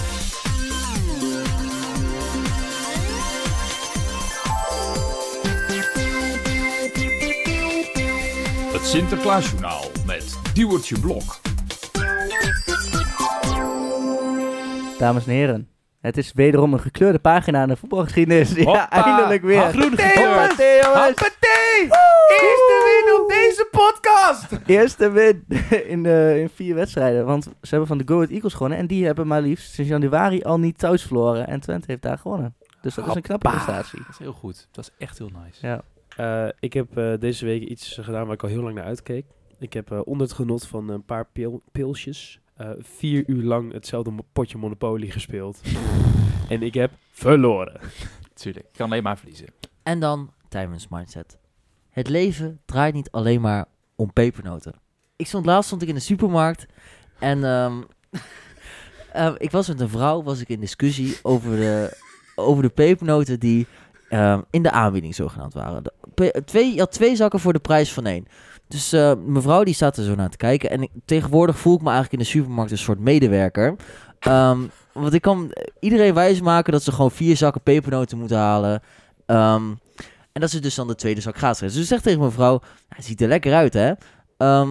Speaker 7: Het Sinterklaasjournaal met Diewertje Blok.
Speaker 3: Dames en heren, het is wederom een gekleurde pagina in de voetbalgeschiedenis. Ja,
Speaker 7: Hoppa,
Speaker 3: eindelijk weer.
Speaker 7: groen
Speaker 3: Hoppatee,
Speaker 7: gekleurd.
Speaker 3: jongens. Eerste win op deze podcast! Eerste win in, eh, in vier wedstrijden. Want ze hebben van de Go Ahead Eagles gewonnen. En die hebben maar liefst sinds januari al niet thuis verloren. En Twente heeft daar gewonnen. Dus dat is een knappe prestatie.
Speaker 4: Dat is heel goed. Dat is echt heel nice.
Speaker 3: Ja.
Speaker 5: Eh, ik heb eh, deze week iets gedaan waar ik al heel lang naar uitkeek. Ik heb eh, onder het genot van een paar pil pilsjes eh, vier uur lang hetzelfde mo- potje Monopoly gespeeld. en ik heb verloren.
Speaker 4: Tuurlijk. Ik kan alleen maar verliezen.
Speaker 2: En dan Timer's Mindset. Het leven draait niet alleen maar om pepernoten. Ik stond laatst stond ik in de supermarkt en ehm, ehm, ik was met een vrouw was ik in discussie over de, over de pepernoten die ehm, in de aanbieding zogenaamd waren. De pe- twee, je had twee zakken voor de prijs van één. Dus eh, mevrouw die staat er zo naar te kijken en ik- tegenwoordig voel ik me eigenlijk in de supermarkt een soort medewerker. Ehm, want ik kan iedereen wijsmaken dat ze gewoon vier zakken pepernoten moeten halen. Ehm, en dat ze dus dan de tweede zak gratis krijgt. Dus ze zegt tegen mijn vrouw, hij ziet er lekker uit, hè? Ehm,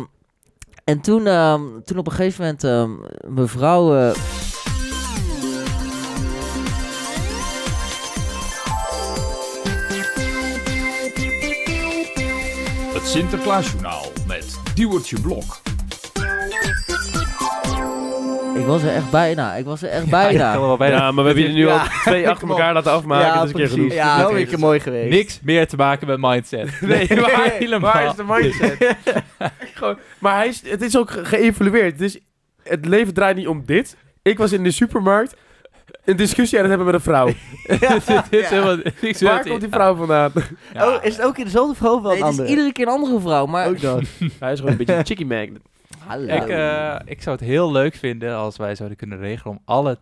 Speaker 2: en toen, ehm, toen op een gegeven moment ehm, mevrouw... eh,
Speaker 7: Het Sinterklaasjournaal met Diewertje Blok.
Speaker 2: ik was er echt bijna, ik was er echt
Speaker 4: Ik
Speaker 2: bijna.
Speaker 4: kan er wel
Speaker 5: Ja,
Speaker 4: bijna.
Speaker 5: maar we hebben jullie nu
Speaker 3: Ja.
Speaker 5: al twee achter elkaar laten afmaken.
Speaker 3: ja,
Speaker 5: dat is een keer genoeg.
Speaker 3: precies. Ja, wel een keer mooi geweest.
Speaker 4: Niks meer te maken met mindset. Nee, maar helemaal.
Speaker 5: Waar is de mindset? Gewoon, maar hij is, het is ook ge- geëvalueerd. Het, is- het leven draait niet om dit. Ik was in de supermarkt een discussie aan het hebben met een vrouw.
Speaker 4: dit, dit is
Speaker 3: Ja.
Speaker 4: helemaal niks
Speaker 5: Waar
Speaker 4: met-
Speaker 5: komt die vrouw vandaan?
Speaker 4: Ja.
Speaker 3: Oh, is het ook in dezelfde verhoofd wel
Speaker 2: Nee,
Speaker 3: een
Speaker 2: het is
Speaker 3: andere?
Speaker 2: iedere keer een andere vrouw, maar...
Speaker 3: Ook dat.
Speaker 5: Hij is gewoon een beetje een chicky magnet.
Speaker 2: Hallo.
Speaker 4: Ik, eh, ik zou het heel leuk vinden als wij zouden kunnen regelen om alle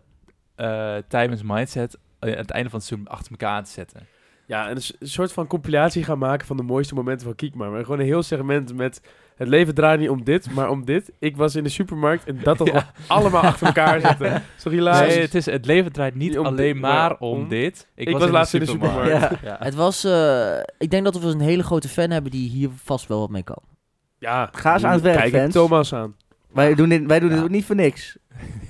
Speaker 4: eh Timers Mindset eh, aan het einde van het seizoen achter elkaar aan te zetten.
Speaker 5: Ja, en een s- een soort van compilatie gaan maken van de mooiste momenten van Kiekma. Maar gewoon een heel segment met... Het leven draait niet om dit, maar om dit. Ik was in de supermarkt en dat dan
Speaker 4: Ja.
Speaker 5: allemaal achter elkaar zetten. Sorry, hilarisch?
Speaker 4: Nee, het, is, het leven draait niet,
Speaker 5: Niet om
Speaker 4: alleen
Speaker 5: dit,
Speaker 4: maar
Speaker 5: maar
Speaker 4: om
Speaker 5: om-
Speaker 4: dit. Ik,
Speaker 5: was
Speaker 4: in
Speaker 5: laatst in de
Speaker 3: supermarkt.
Speaker 4: Ja.
Speaker 2: Het was... eh, ik denk dat we een hele grote fan hebben die hier vast wel wat mee kan.
Speaker 5: Ja,
Speaker 3: Ga eens aan het werk,
Speaker 5: Kijk ik
Speaker 3: fans.
Speaker 5: Thomas aan.
Speaker 3: Wij doen dit, wij doen dit
Speaker 4: Ja.
Speaker 3: ook niet voor niks.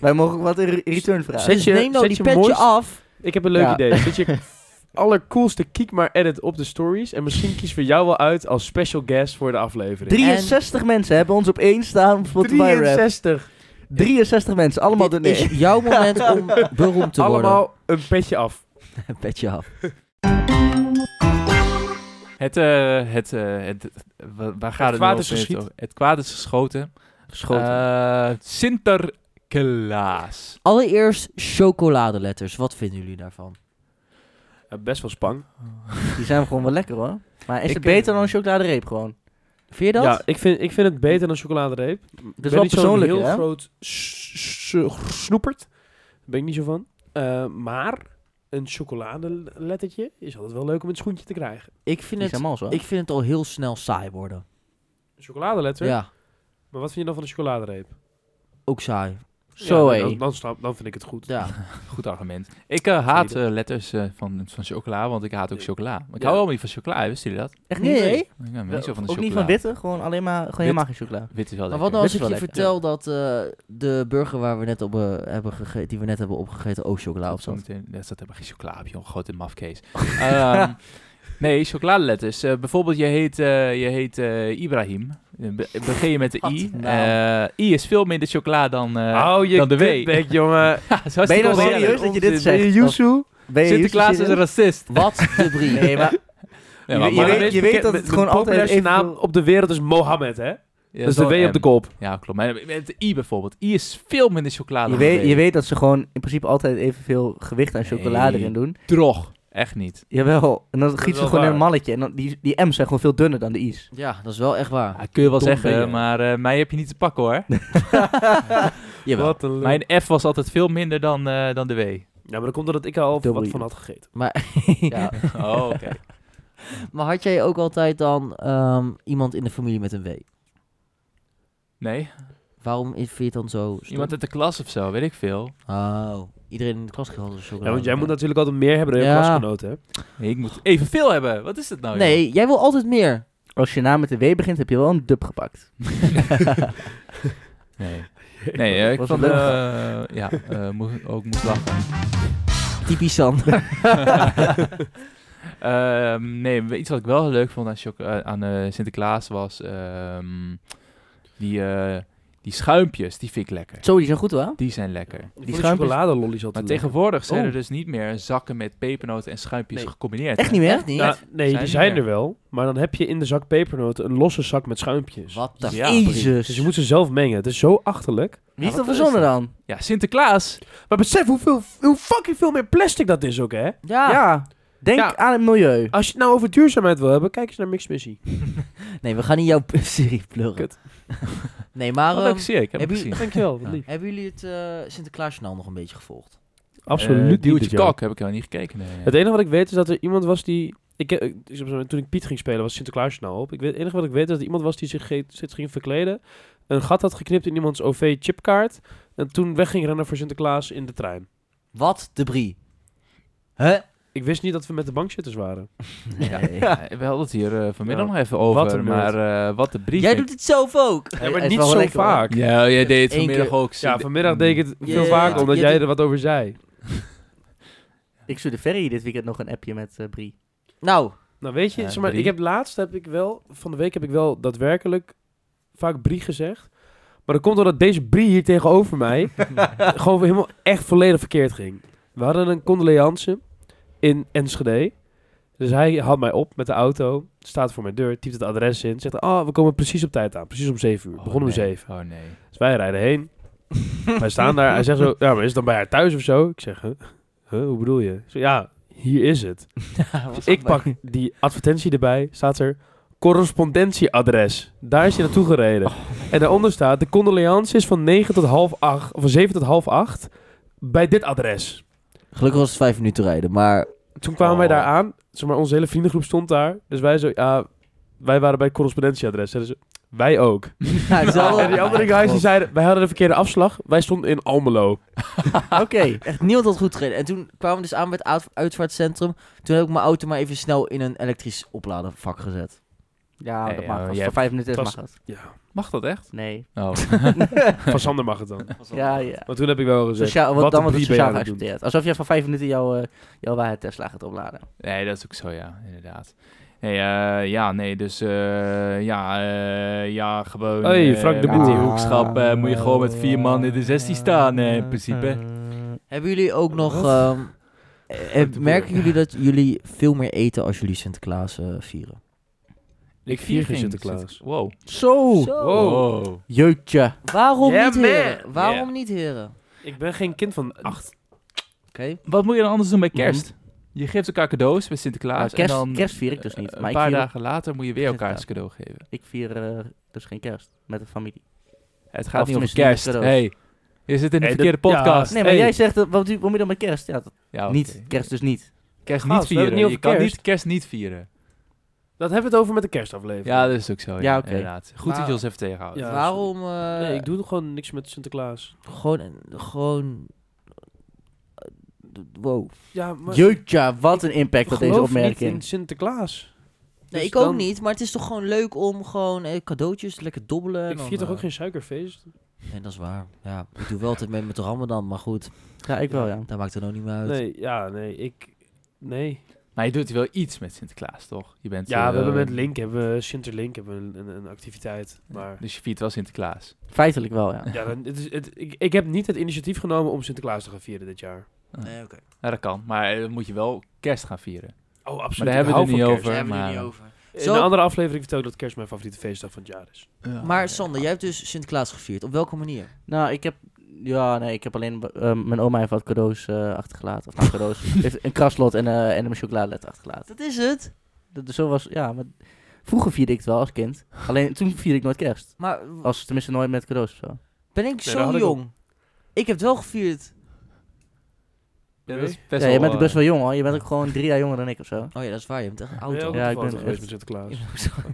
Speaker 3: wij mogen ook wat in re- return vragen.
Speaker 5: Zet
Speaker 2: Dus
Speaker 5: je-
Speaker 2: neem nou
Speaker 5: zet
Speaker 2: die
Speaker 5: je
Speaker 2: petje
Speaker 5: mooiste-
Speaker 2: af.
Speaker 5: Ik heb een leuk
Speaker 3: Ja.
Speaker 5: idee. Zet je allercoolste kiek maar edit op de stories. En misschien kiezen we jou wel uit als special guest voor de aflevering.
Speaker 3: 63 mensen hebben ons op één staan op Spotify Rap.
Speaker 5: 63.
Speaker 3: 63 mensen, allemaal door
Speaker 2: Dit
Speaker 3: nee.
Speaker 2: is jouw moment om beroemd te worden.
Speaker 5: Allemaal een petje af.
Speaker 2: Petje af.
Speaker 4: Het, eh, het, eh, het, wa- waar gaat het, nu
Speaker 5: kwaad
Speaker 4: over?
Speaker 5: is geschiet.
Speaker 4: Het- Het kwaad is geschoten.
Speaker 3: Geschoten.
Speaker 4: Eh, Sinterklaas.
Speaker 2: Allereerst chocoladeletters. Wat vinden jullie daarvan?
Speaker 5: Ja, best wel spang.
Speaker 2: Eh.
Speaker 3: Die zijn gewoon wel lekker hoor. Maar is
Speaker 4: Ik,
Speaker 3: het
Speaker 4: eh,
Speaker 3: beter dan een chocoladereep gewoon?
Speaker 2: Vind je dat?
Speaker 5: Ja, ik vind, ik vind het beter dan chocoladereep.
Speaker 3: Dat
Speaker 5: ben
Speaker 3: is wel
Speaker 5: niet zo'n
Speaker 3: persoonlijk
Speaker 5: heel
Speaker 3: hè?
Speaker 5: groot s- s- snoepert. Daar ben ik niet zo van. Eh, maar een chocoladelettertje is altijd wel leuk om in het schoentje te krijgen.
Speaker 2: Ik vind,
Speaker 3: Die
Speaker 2: het,
Speaker 3: zijn mals hoor.
Speaker 2: ik vind het al heel snel saai worden.
Speaker 5: Een chocoladeletter?
Speaker 2: Ja,
Speaker 5: Maar wat vind je dan van een chocoladereep?
Speaker 2: ook saai.
Speaker 3: Zo
Speaker 5: ja,
Speaker 3: hé.
Speaker 5: dan, dan, snap- dan vind ik het goed.
Speaker 2: Ja.
Speaker 4: Goed argument. Ik eh, haat eh, letters eh, van, van chocola, want ik haat ook
Speaker 5: Ja.
Speaker 4: chocola. Maar ik
Speaker 5: Ja.
Speaker 4: hou wel niet van chocola, wisten jullie dat?
Speaker 3: Echt niet?
Speaker 2: Nee,
Speaker 3: hè?
Speaker 4: Ik ben niet zo van de
Speaker 3: ook
Speaker 4: chocola.
Speaker 3: niet van witte, gewoon alleen maar, gewoon helemaal geen chocola.
Speaker 4: Wit is
Speaker 2: Maar
Speaker 4: wel lekker.
Speaker 2: wat nou als ik je
Speaker 3: Dit is wel lekker,
Speaker 2: vertel dat eh, de burger waar we net op eh, hebben gegeten, die we net hebben opgegeten, ook chocola op
Speaker 4: Zo
Speaker 2: zat?
Speaker 4: meteen. Dat staat helemaal geen chocola op, joh. Grote mafkees. Ehm, nee, chocoladeletters. Eh, bijvoorbeeld, je heet, eh, je heet eh, Ibrahim. Eh, be- begin je met de
Speaker 2: Wat
Speaker 4: I.
Speaker 3: nou?
Speaker 2: een
Speaker 4: Eh, I is veel minder chocola dan, eh
Speaker 5: Oh, je
Speaker 4: dan de W.
Speaker 5: kutbek, jongen.
Speaker 4: Ja, zo is
Speaker 3: Ben je
Speaker 4: het
Speaker 3: nou
Speaker 4: wel
Speaker 3: serieus dat je dit
Speaker 4: Onzin.
Speaker 3: zegt?
Speaker 5: Yuzu?
Speaker 3: Ben je
Speaker 4: Sinterklaas is een
Speaker 3: serieus?
Speaker 4: racist.
Speaker 2: Wat de brie.
Speaker 3: Nee, maar
Speaker 4: Ja,
Speaker 3: Je
Speaker 4: maar
Speaker 3: weet-
Speaker 4: mannen-
Speaker 3: je weet- dat het gewoon altijd
Speaker 5: De
Speaker 3: even-
Speaker 5: naam op de wereld is Mohammed, hè?
Speaker 4: Ja,
Speaker 5: Dat is de
Speaker 4: zo,
Speaker 5: W op
Speaker 4: ehm,
Speaker 5: de kop.
Speaker 4: Ja, klopt. Maar met de I bijvoorbeeld. I is veel minder chocola
Speaker 3: je
Speaker 4: dan
Speaker 3: weet,
Speaker 4: de W.
Speaker 3: je weet dat ze gewoon in principe altijd evenveel gewicht aan chocolade
Speaker 4: Nee.
Speaker 3: erin doen.
Speaker 4: Drog. Echt niet.
Speaker 3: Jawel, en dan giet
Speaker 5: is
Speaker 3: ze
Speaker 5: wel
Speaker 3: gewoon in een
Speaker 5: waar.
Speaker 3: malletje. En dan, die, die M's zijn gewoon veel dunner dan de I's.
Speaker 2: Ja, dat is wel echt waar.
Speaker 4: Ja, kun je wel
Speaker 3: Dom ben je.
Speaker 4: zeggen, maar eh, mij heb je niet te pakken hoor.
Speaker 2: Jawel.
Speaker 5: Wat een lul.
Speaker 4: Mijn F was altijd veel minder dan, eh, dan de W.
Speaker 5: Ja, maar dat komt doordat ik er al
Speaker 3: Dubbel
Speaker 5: wat
Speaker 3: I.
Speaker 5: van had gegeten.
Speaker 2: Maar,
Speaker 3: Ja.
Speaker 4: Oh, oké.
Speaker 2: maar had jij ook altijd dan ehm, iemand in de familie met een W?
Speaker 4: Nee,
Speaker 2: Waarom is- vind je het dan zo stom?
Speaker 4: iemand uit de klas of zo, weet ik veel.
Speaker 2: Oh, iedereen in de klas had een chocolade.
Speaker 5: Ja, want jij moet natuurlijk altijd meer hebben dan je
Speaker 2: Ja.
Speaker 5: klasgenoten, hè?
Speaker 4: Nee, ik moet evenveel hebben. Wat is dat nou? joh?
Speaker 2: Oh, Nee, jij wil altijd meer.
Speaker 3: Als je naam met de W begint, heb je wel een dub gepakt.
Speaker 4: Nee, nee eh, ik
Speaker 3: Was
Speaker 4: vond
Speaker 3: het leuk?
Speaker 4: eh, ja, eh, moe- ook moest lachen.
Speaker 2: Typisch Sander.
Speaker 4: Ehm, nee, iets wat ik wel leuk vond aan, choc- eh, aan eh, Sinterklaas was ehm, die, eh, die schuimpjes, die vind ik lekker.
Speaker 3: Zo, die zijn goed hoor.
Speaker 4: Die zijn lekker.
Speaker 5: Die,
Speaker 3: schuimpjes-
Speaker 5: chocoladelollies
Speaker 4: Maar
Speaker 5: altijd lekker.
Speaker 4: tegenwoordig zijn er
Speaker 5: Oh.
Speaker 4: dus niet meer zakken met pepernoten en schuimpjes
Speaker 5: Nee.
Speaker 4: gecombineerd.
Speaker 3: Echt niet meer?
Speaker 2: Echt niet?
Speaker 5: Ja, nee,
Speaker 4: Zijn
Speaker 5: die
Speaker 4: er
Speaker 5: zijn
Speaker 4: meer.
Speaker 5: er wel. Maar dan heb je in de zak pepernoten een losse zak met schuimpjes.
Speaker 2: Wat de
Speaker 4: Ja.
Speaker 5: Dus
Speaker 3: Jezus.
Speaker 5: je moet ze zelf mengen. Het is zo achterlijk.
Speaker 3: Wie heeft
Speaker 4: Ja,
Speaker 3: Ah, dat
Speaker 4: wat is
Speaker 3: verzonnen
Speaker 4: dat?
Speaker 3: dan?
Speaker 4: Ja, Sinterklaas.
Speaker 5: Maar besef hoeveel, hoe fucking veel meer plastic dat is ook, hè?
Speaker 2: Ja.
Speaker 3: Ja, Ah. denk
Speaker 5: Ja.
Speaker 3: aan het milieu.
Speaker 5: Als je het nou over duurzaamheid wil hebben, kijk eens naar Mix Missie.
Speaker 2: Nee, we gaan niet jouw serie pluggen.
Speaker 5: Kut.
Speaker 2: Nee, maar
Speaker 4: Wat
Speaker 2: ehm,
Speaker 4: leuk zie ik, heb ik
Speaker 2: heb je-
Speaker 4: gezien.
Speaker 5: Dankjewel, wat
Speaker 4: Ja.
Speaker 5: lief.
Speaker 2: hebben jullie het eh Sinterklaasjournaal nog een beetje gevolgd?
Speaker 4: Eh,
Speaker 5: Absoluut
Speaker 4: Duwtje
Speaker 5: niet. joh.
Speaker 4: Kok heb ik helemaal niet gekeken. nee.
Speaker 5: Het enige wat ik weet is dat er iemand was die... Ik, eh, ik- ik- toen ik Piet ging spelen was Sinterklaas nou op. Ik weet, het enige wat ik weet is dat er iemand was die zich, ge- zich ging verkleden. Een gat had geknipt in iemands OV-chipkaart. En toen weg ging rennen voor Sinterklaas in de trein.
Speaker 2: Wat de brie? Huh?
Speaker 5: Ik wist niet dat we met de bankzitters waren.
Speaker 4: Ja,
Speaker 2: Nee.
Speaker 4: ja, we hadden het hier eh, vanmiddag
Speaker 5: Ja.
Speaker 4: nog even over,
Speaker 5: Wat een nerd.
Speaker 4: maar eh, wat de brief.
Speaker 2: Jij
Speaker 4: ik-
Speaker 2: doet het zelf ook.
Speaker 5: Ja,
Speaker 3: hij
Speaker 5: maar
Speaker 3: is
Speaker 5: niet
Speaker 3: wel
Speaker 5: zo
Speaker 3: lekker, hoor.
Speaker 5: vaak.
Speaker 4: Ja, jij deed het
Speaker 2: Eén
Speaker 4: vanmiddag ook.
Speaker 5: Ja, vanmiddag deed ik het
Speaker 2: Ja,
Speaker 5: veel
Speaker 2: ja,
Speaker 5: vaker
Speaker 2: ja.
Speaker 5: omdat
Speaker 2: Je
Speaker 5: jij
Speaker 2: doet-
Speaker 5: er wat over zei.
Speaker 3: Ik stuurde Ferry dit weekend nog een appje met eh Brie.
Speaker 2: Nou,
Speaker 5: Nou weet je,
Speaker 4: Ja,
Speaker 5: zeg maar,
Speaker 4: Brie.
Speaker 5: ik heb laatst heb ik wel, van de week heb ik wel daadwerkelijk vaak Brie gezegd. Maar dat komt doordat deze Brie hier tegenover mij gewoon helemaal echt volledig verkeerd ging. We hadden een condoleance in Enschede. Dus hij haalt mij op met de auto, staat voor mijn deur, typt het adres in, zegt, ah, we komen precies op tijd aan, precies om 7 uur.
Speaker 4: Oh,
Speaker 5: Begonnen om
Speaker 4: nee.
Speaker 5: 7.
Speaker 4: Oh nee.
Speaker 5: Dus wij rijden heen. wij staan daar. Hij zegt zo, ja, maar is het dan bij haar thuis of zo? Ik zeg, huh? Huh, hoe bedoel je? Ik zeg, ja, hier is het. Dus ik pak die advertentie erbij, staat er correspondentieadres. Daar is hij naartoe gereden. En daaronder staat, de condoleance is van 9 tot half 8, of van 7 tot half 8, bij dit adres.
Speaker 2: gelukkig was het vijf minuten rijden, maar
Speaker 5: Toen kwamen wij
Speaker 4: Oh.
Speaker 5: daar aan, zeg maar, onze hele vriendengroep stond daar. Dus wij zo, ja, wij waren bij het correspondentieadres. Zeiden ze, wij ook.
Speaker 2: ja, het is wel-
Speaker 5: en die andere guys die zeiden, wij hadden de verkeerde afslag, wij stonden in Almelo.
Speaker 3: Oké.
Speaker 2: echt niemand had goed gereden. En toen kwamen we dus aan bij het uit- uitvaartcentrum. Toen heb ik mijn auto maar even snel in een elektrisch opladen vak gezet.
Speaker 3: Ja,
Speaker 5: oh,
Speaker 4: Nee,
Speaker 3: dat
Speaker 4: ja,
Speaker 3: mag. Als
Speaker 4: jij-
Speaker 3: het voor vijf minuten is, mag
Speaker 5: was-
Speaker 3: dat.
Speaker 5: Ja,
Speaker 4: Mag dat echt?
Speaker 3: Nee.
Speaker 4: Oh.
Speaker 5: van Sander mag het dan.
Speaker 3: Ja, ja.
Speaker 5: Maar toen heb ik wel gezegd,
Speaker 3: Sociaal, want
Speaker 5: Dus, eh, wat
Speaker 3: dan
Speaker 5: een
Speaker 3: wordt
Speaker 5: brie ben
Speaker 3: het
Speaker 5: je
Speaker 3: sociaal
Speaker 5: aan het doen.
Speaker 3: geaccepteerd. Alsof jij van vijf minuten jouw, eh, jouw waarheid Tesla gaat opladen.
Speaker 4: Nee, dat is ook zo, ja. Inderdaad. Nee, eh, ja, nee, dus eh, ja, eh, ja, gewoon...
Speaker 5: Hey,
Speaker 4: eh,
Speaker 5: Frank de
Speaker 4: Met die
Speaker 5: Boer.
Speaker 4: hoekschap eh, moet je gewoon met vier man in de 16 staan, eh, in principe.
Speaker 2: Hebben jullie ook nog...
Speaker 5: Wat?
Speaker 2: ehm, eh,
Speaker 5: te
Speaker 2: merken
Speaker 5: boer.
Speaker 2: jullie dat jullie veel meer eten als jullie Sinterklaas eh, vieren?
Speaker 5: Ik vier geen
Speaker 4: ging
Speaker 5: Sinterklaas.
Speaker 4: Sinter- Wow.
Speaker 3: Zo!
Speaker 5: Oh.
Speaker 4: Wow.
Speaker 3: Jeutje.
Speaker 2: Waarom
Speaker 5: Yeah,
Speaker 2: niet, heren?
Speaker 5: man.
Speaker 2: Waarom
Speaker 4: Yeah.
Speaker 2: niet, heren?
Speaker 5: ik ben geen kind van acht.
Speaker 2: Oké.
Speaker 4: Wat moet je dan anders doen bij kerst? Je geeft elkaar cadeaus bij Sinterklaas
Speaker 3: Mhm. Nou, kerst-
Speaker 4: en dan...
Speaker 3: kerst vier ik dus niet,
Speaker 4: eh,
Speaker 3: maar
Speaker 4: een
Speaker 3: ik
Speaker 4: paar
Speaker 3: vier-
Speaker 4: dagen later moet je weer elkaar eens cadeau geven.
Speaker 3: Ik vier eh, dus geen kerst met de familie.
Speaker 4: Het gaat
Speaker 3: Of
Speaker 4: niet over
Speaker 3: tenminste niet
Speaker 4: kerst.
Speaker 3: met cadeaus.
Speaker 4: hey, je zit in de
Speaker 5: Hey,
Speaker 4: verkeerde
Speaker 5: dat- ja.
Speaker 4: podcast.
Speaker 3: Nee, maar
Speaker 5: Hey. Ah,
Speaker 3: jij zegt, dat, wat, doe- wat moet je dan met kerst? Ja, dat,
Speaker 4: Ja, oké.
Speaker 3: niet. Kerst dus niet.
Speaker 4: Kerst
Speaker 5: Gast, we hebben
Speaker 4: niet vieren.
Speaker 5: het niet over
Speaker 4: je kan
Speaker 5: kerst.
Speaker 4: niet kerst niet vieren.
Speaker 5: Dat hebben we het over met de kerstaflevering.
Speaker 4: Ja, dus- dat is ook zo. Ja,
Speaker 3: Ja, oké.
Speaker 4: inderdaad. Goed dat
Speaker 5: Maar-
Speaker 4: je ons even tegenhoudt.
Speaker 5: Ja,
Speaker 2: Waarom... eh,
Speaker 5: Nee, ik doe gewoon niks met Sinterklaas.
Speaker 2: Gewoon... eh, gewoon eh, wow.
Speaker 5: Ja, maar
Speaker 3: Jeutje, wat een impact
Speaker 5: ik
Speaker 3: had deze
Speaker 5: geloof niet
Speaker 3: opmerking.
Speaker 5: in Sinterklaas.
Speaker 2: Nee,
Speaker 5: Dus
Speaker 2: ik ook
Speaker 5: dan-
Speaker 2: niet, maar het is toch gewoon leuk om gewoon eh, cadeautjes, lekker dobbelen. en
Speaker 5: Ik
Speaker 2: dan,
Speaker 5: vier toch
Speaker 2: eh,
Speaker 5: ook geen suikerfeest?
Speaker 2: Nee, dat is waar. Ja, ik doe wel altijd mee met Ramadan, maar goed,
Speaker 3: Ja, ik wel, ja.
Speaker 2: dat maakt het ook niet meer uit.
Speaker 5: Nee, ja, nee, ik... Nee.
Speaker 4: Maar je doet wel iets met Sinterklaas, toch? Je bent,
Speaker 5: Ja,
Speaker 4: eh,
Speaker 5: we hebben met Link, hebben we, Sinterlink, hebben we een, een, een activiteit. Maar
Speaker 4: Dus je viert wel Sinterklaas.
Speaker 3: Feitelijk wel, ja.
Speaker 5: ja, dan, het is, het, ik, ik heb niet het initiatief genomen om Sinterklaas te gaan vieren dit jaar.
Speaker 2: Nee, oké.
Speaker 4: Ja, dat kan. Maar eh, dan moet je wel kerst gaan vieren.
Speaker 5: Oh, absoluut.
Speaker 4: Maar daar hebben we het
Speaker 5: Ik
Speaker 4: niet
Speaker 5: hou van
Speaker 4: over.
Speaker 2: hebben we
Speaker 4: maar...
Speaker 2: niet over.
Speaker 5: kerst. In
Speaker 2: Zo-
Speaker 5: een andere aflevering vertel ik dat kerst mijn favoriete feestdag van het jaar is.
Speaker 4: Ja,
Speaker 2: Maar
Speaker 4: ja.
Speaker 2: Sander, jij hebt dus Sinterklaas gevierd. Op welke manier?
Speaker 3: Nou, ik heb Ja, nee, ik heb alleen... eh, mijn oma heeft wat cadeaus eh, achtergelaten. Of nou, cadeaus. heeft een kraslot en, eh, en een chocoladelet achtergelaten.
Speaker 2: Dat is het.
Speaker 3: Dat, dus zo was... Ja, maar vroeger vierde ik het wel als kind. Alleen toen vierde ik nooit kerst.
Speaker 2: Maar w-
Speaker 3: Als, tenminste nooit met cadeaus of zo.
Speaker 2: ben ik
Speaker 5: Oh. daar
Speaker 2: zo
Speaker 5: had ik
Speaker 2: jong? Ik, heb het wel gevierd.
Speaker 4: Ja, dat is best
Speaker 3: Ja, je
Speaker 4: wel,
Speaker 3: bent ook best
Speaker 4: eh,
Speaker 3: wel jong hoor. Je bent ook gewoon drie jaar jonger dan ik of zo.
Speaker 2: Oh ja, dat is waar. Je bent echt oud.
Speaker 5: Auto.
Speaker 2: hoor.
Speaker 3: Ja, ik ben echt-
Speaker 5: geweest met Sinterklaas.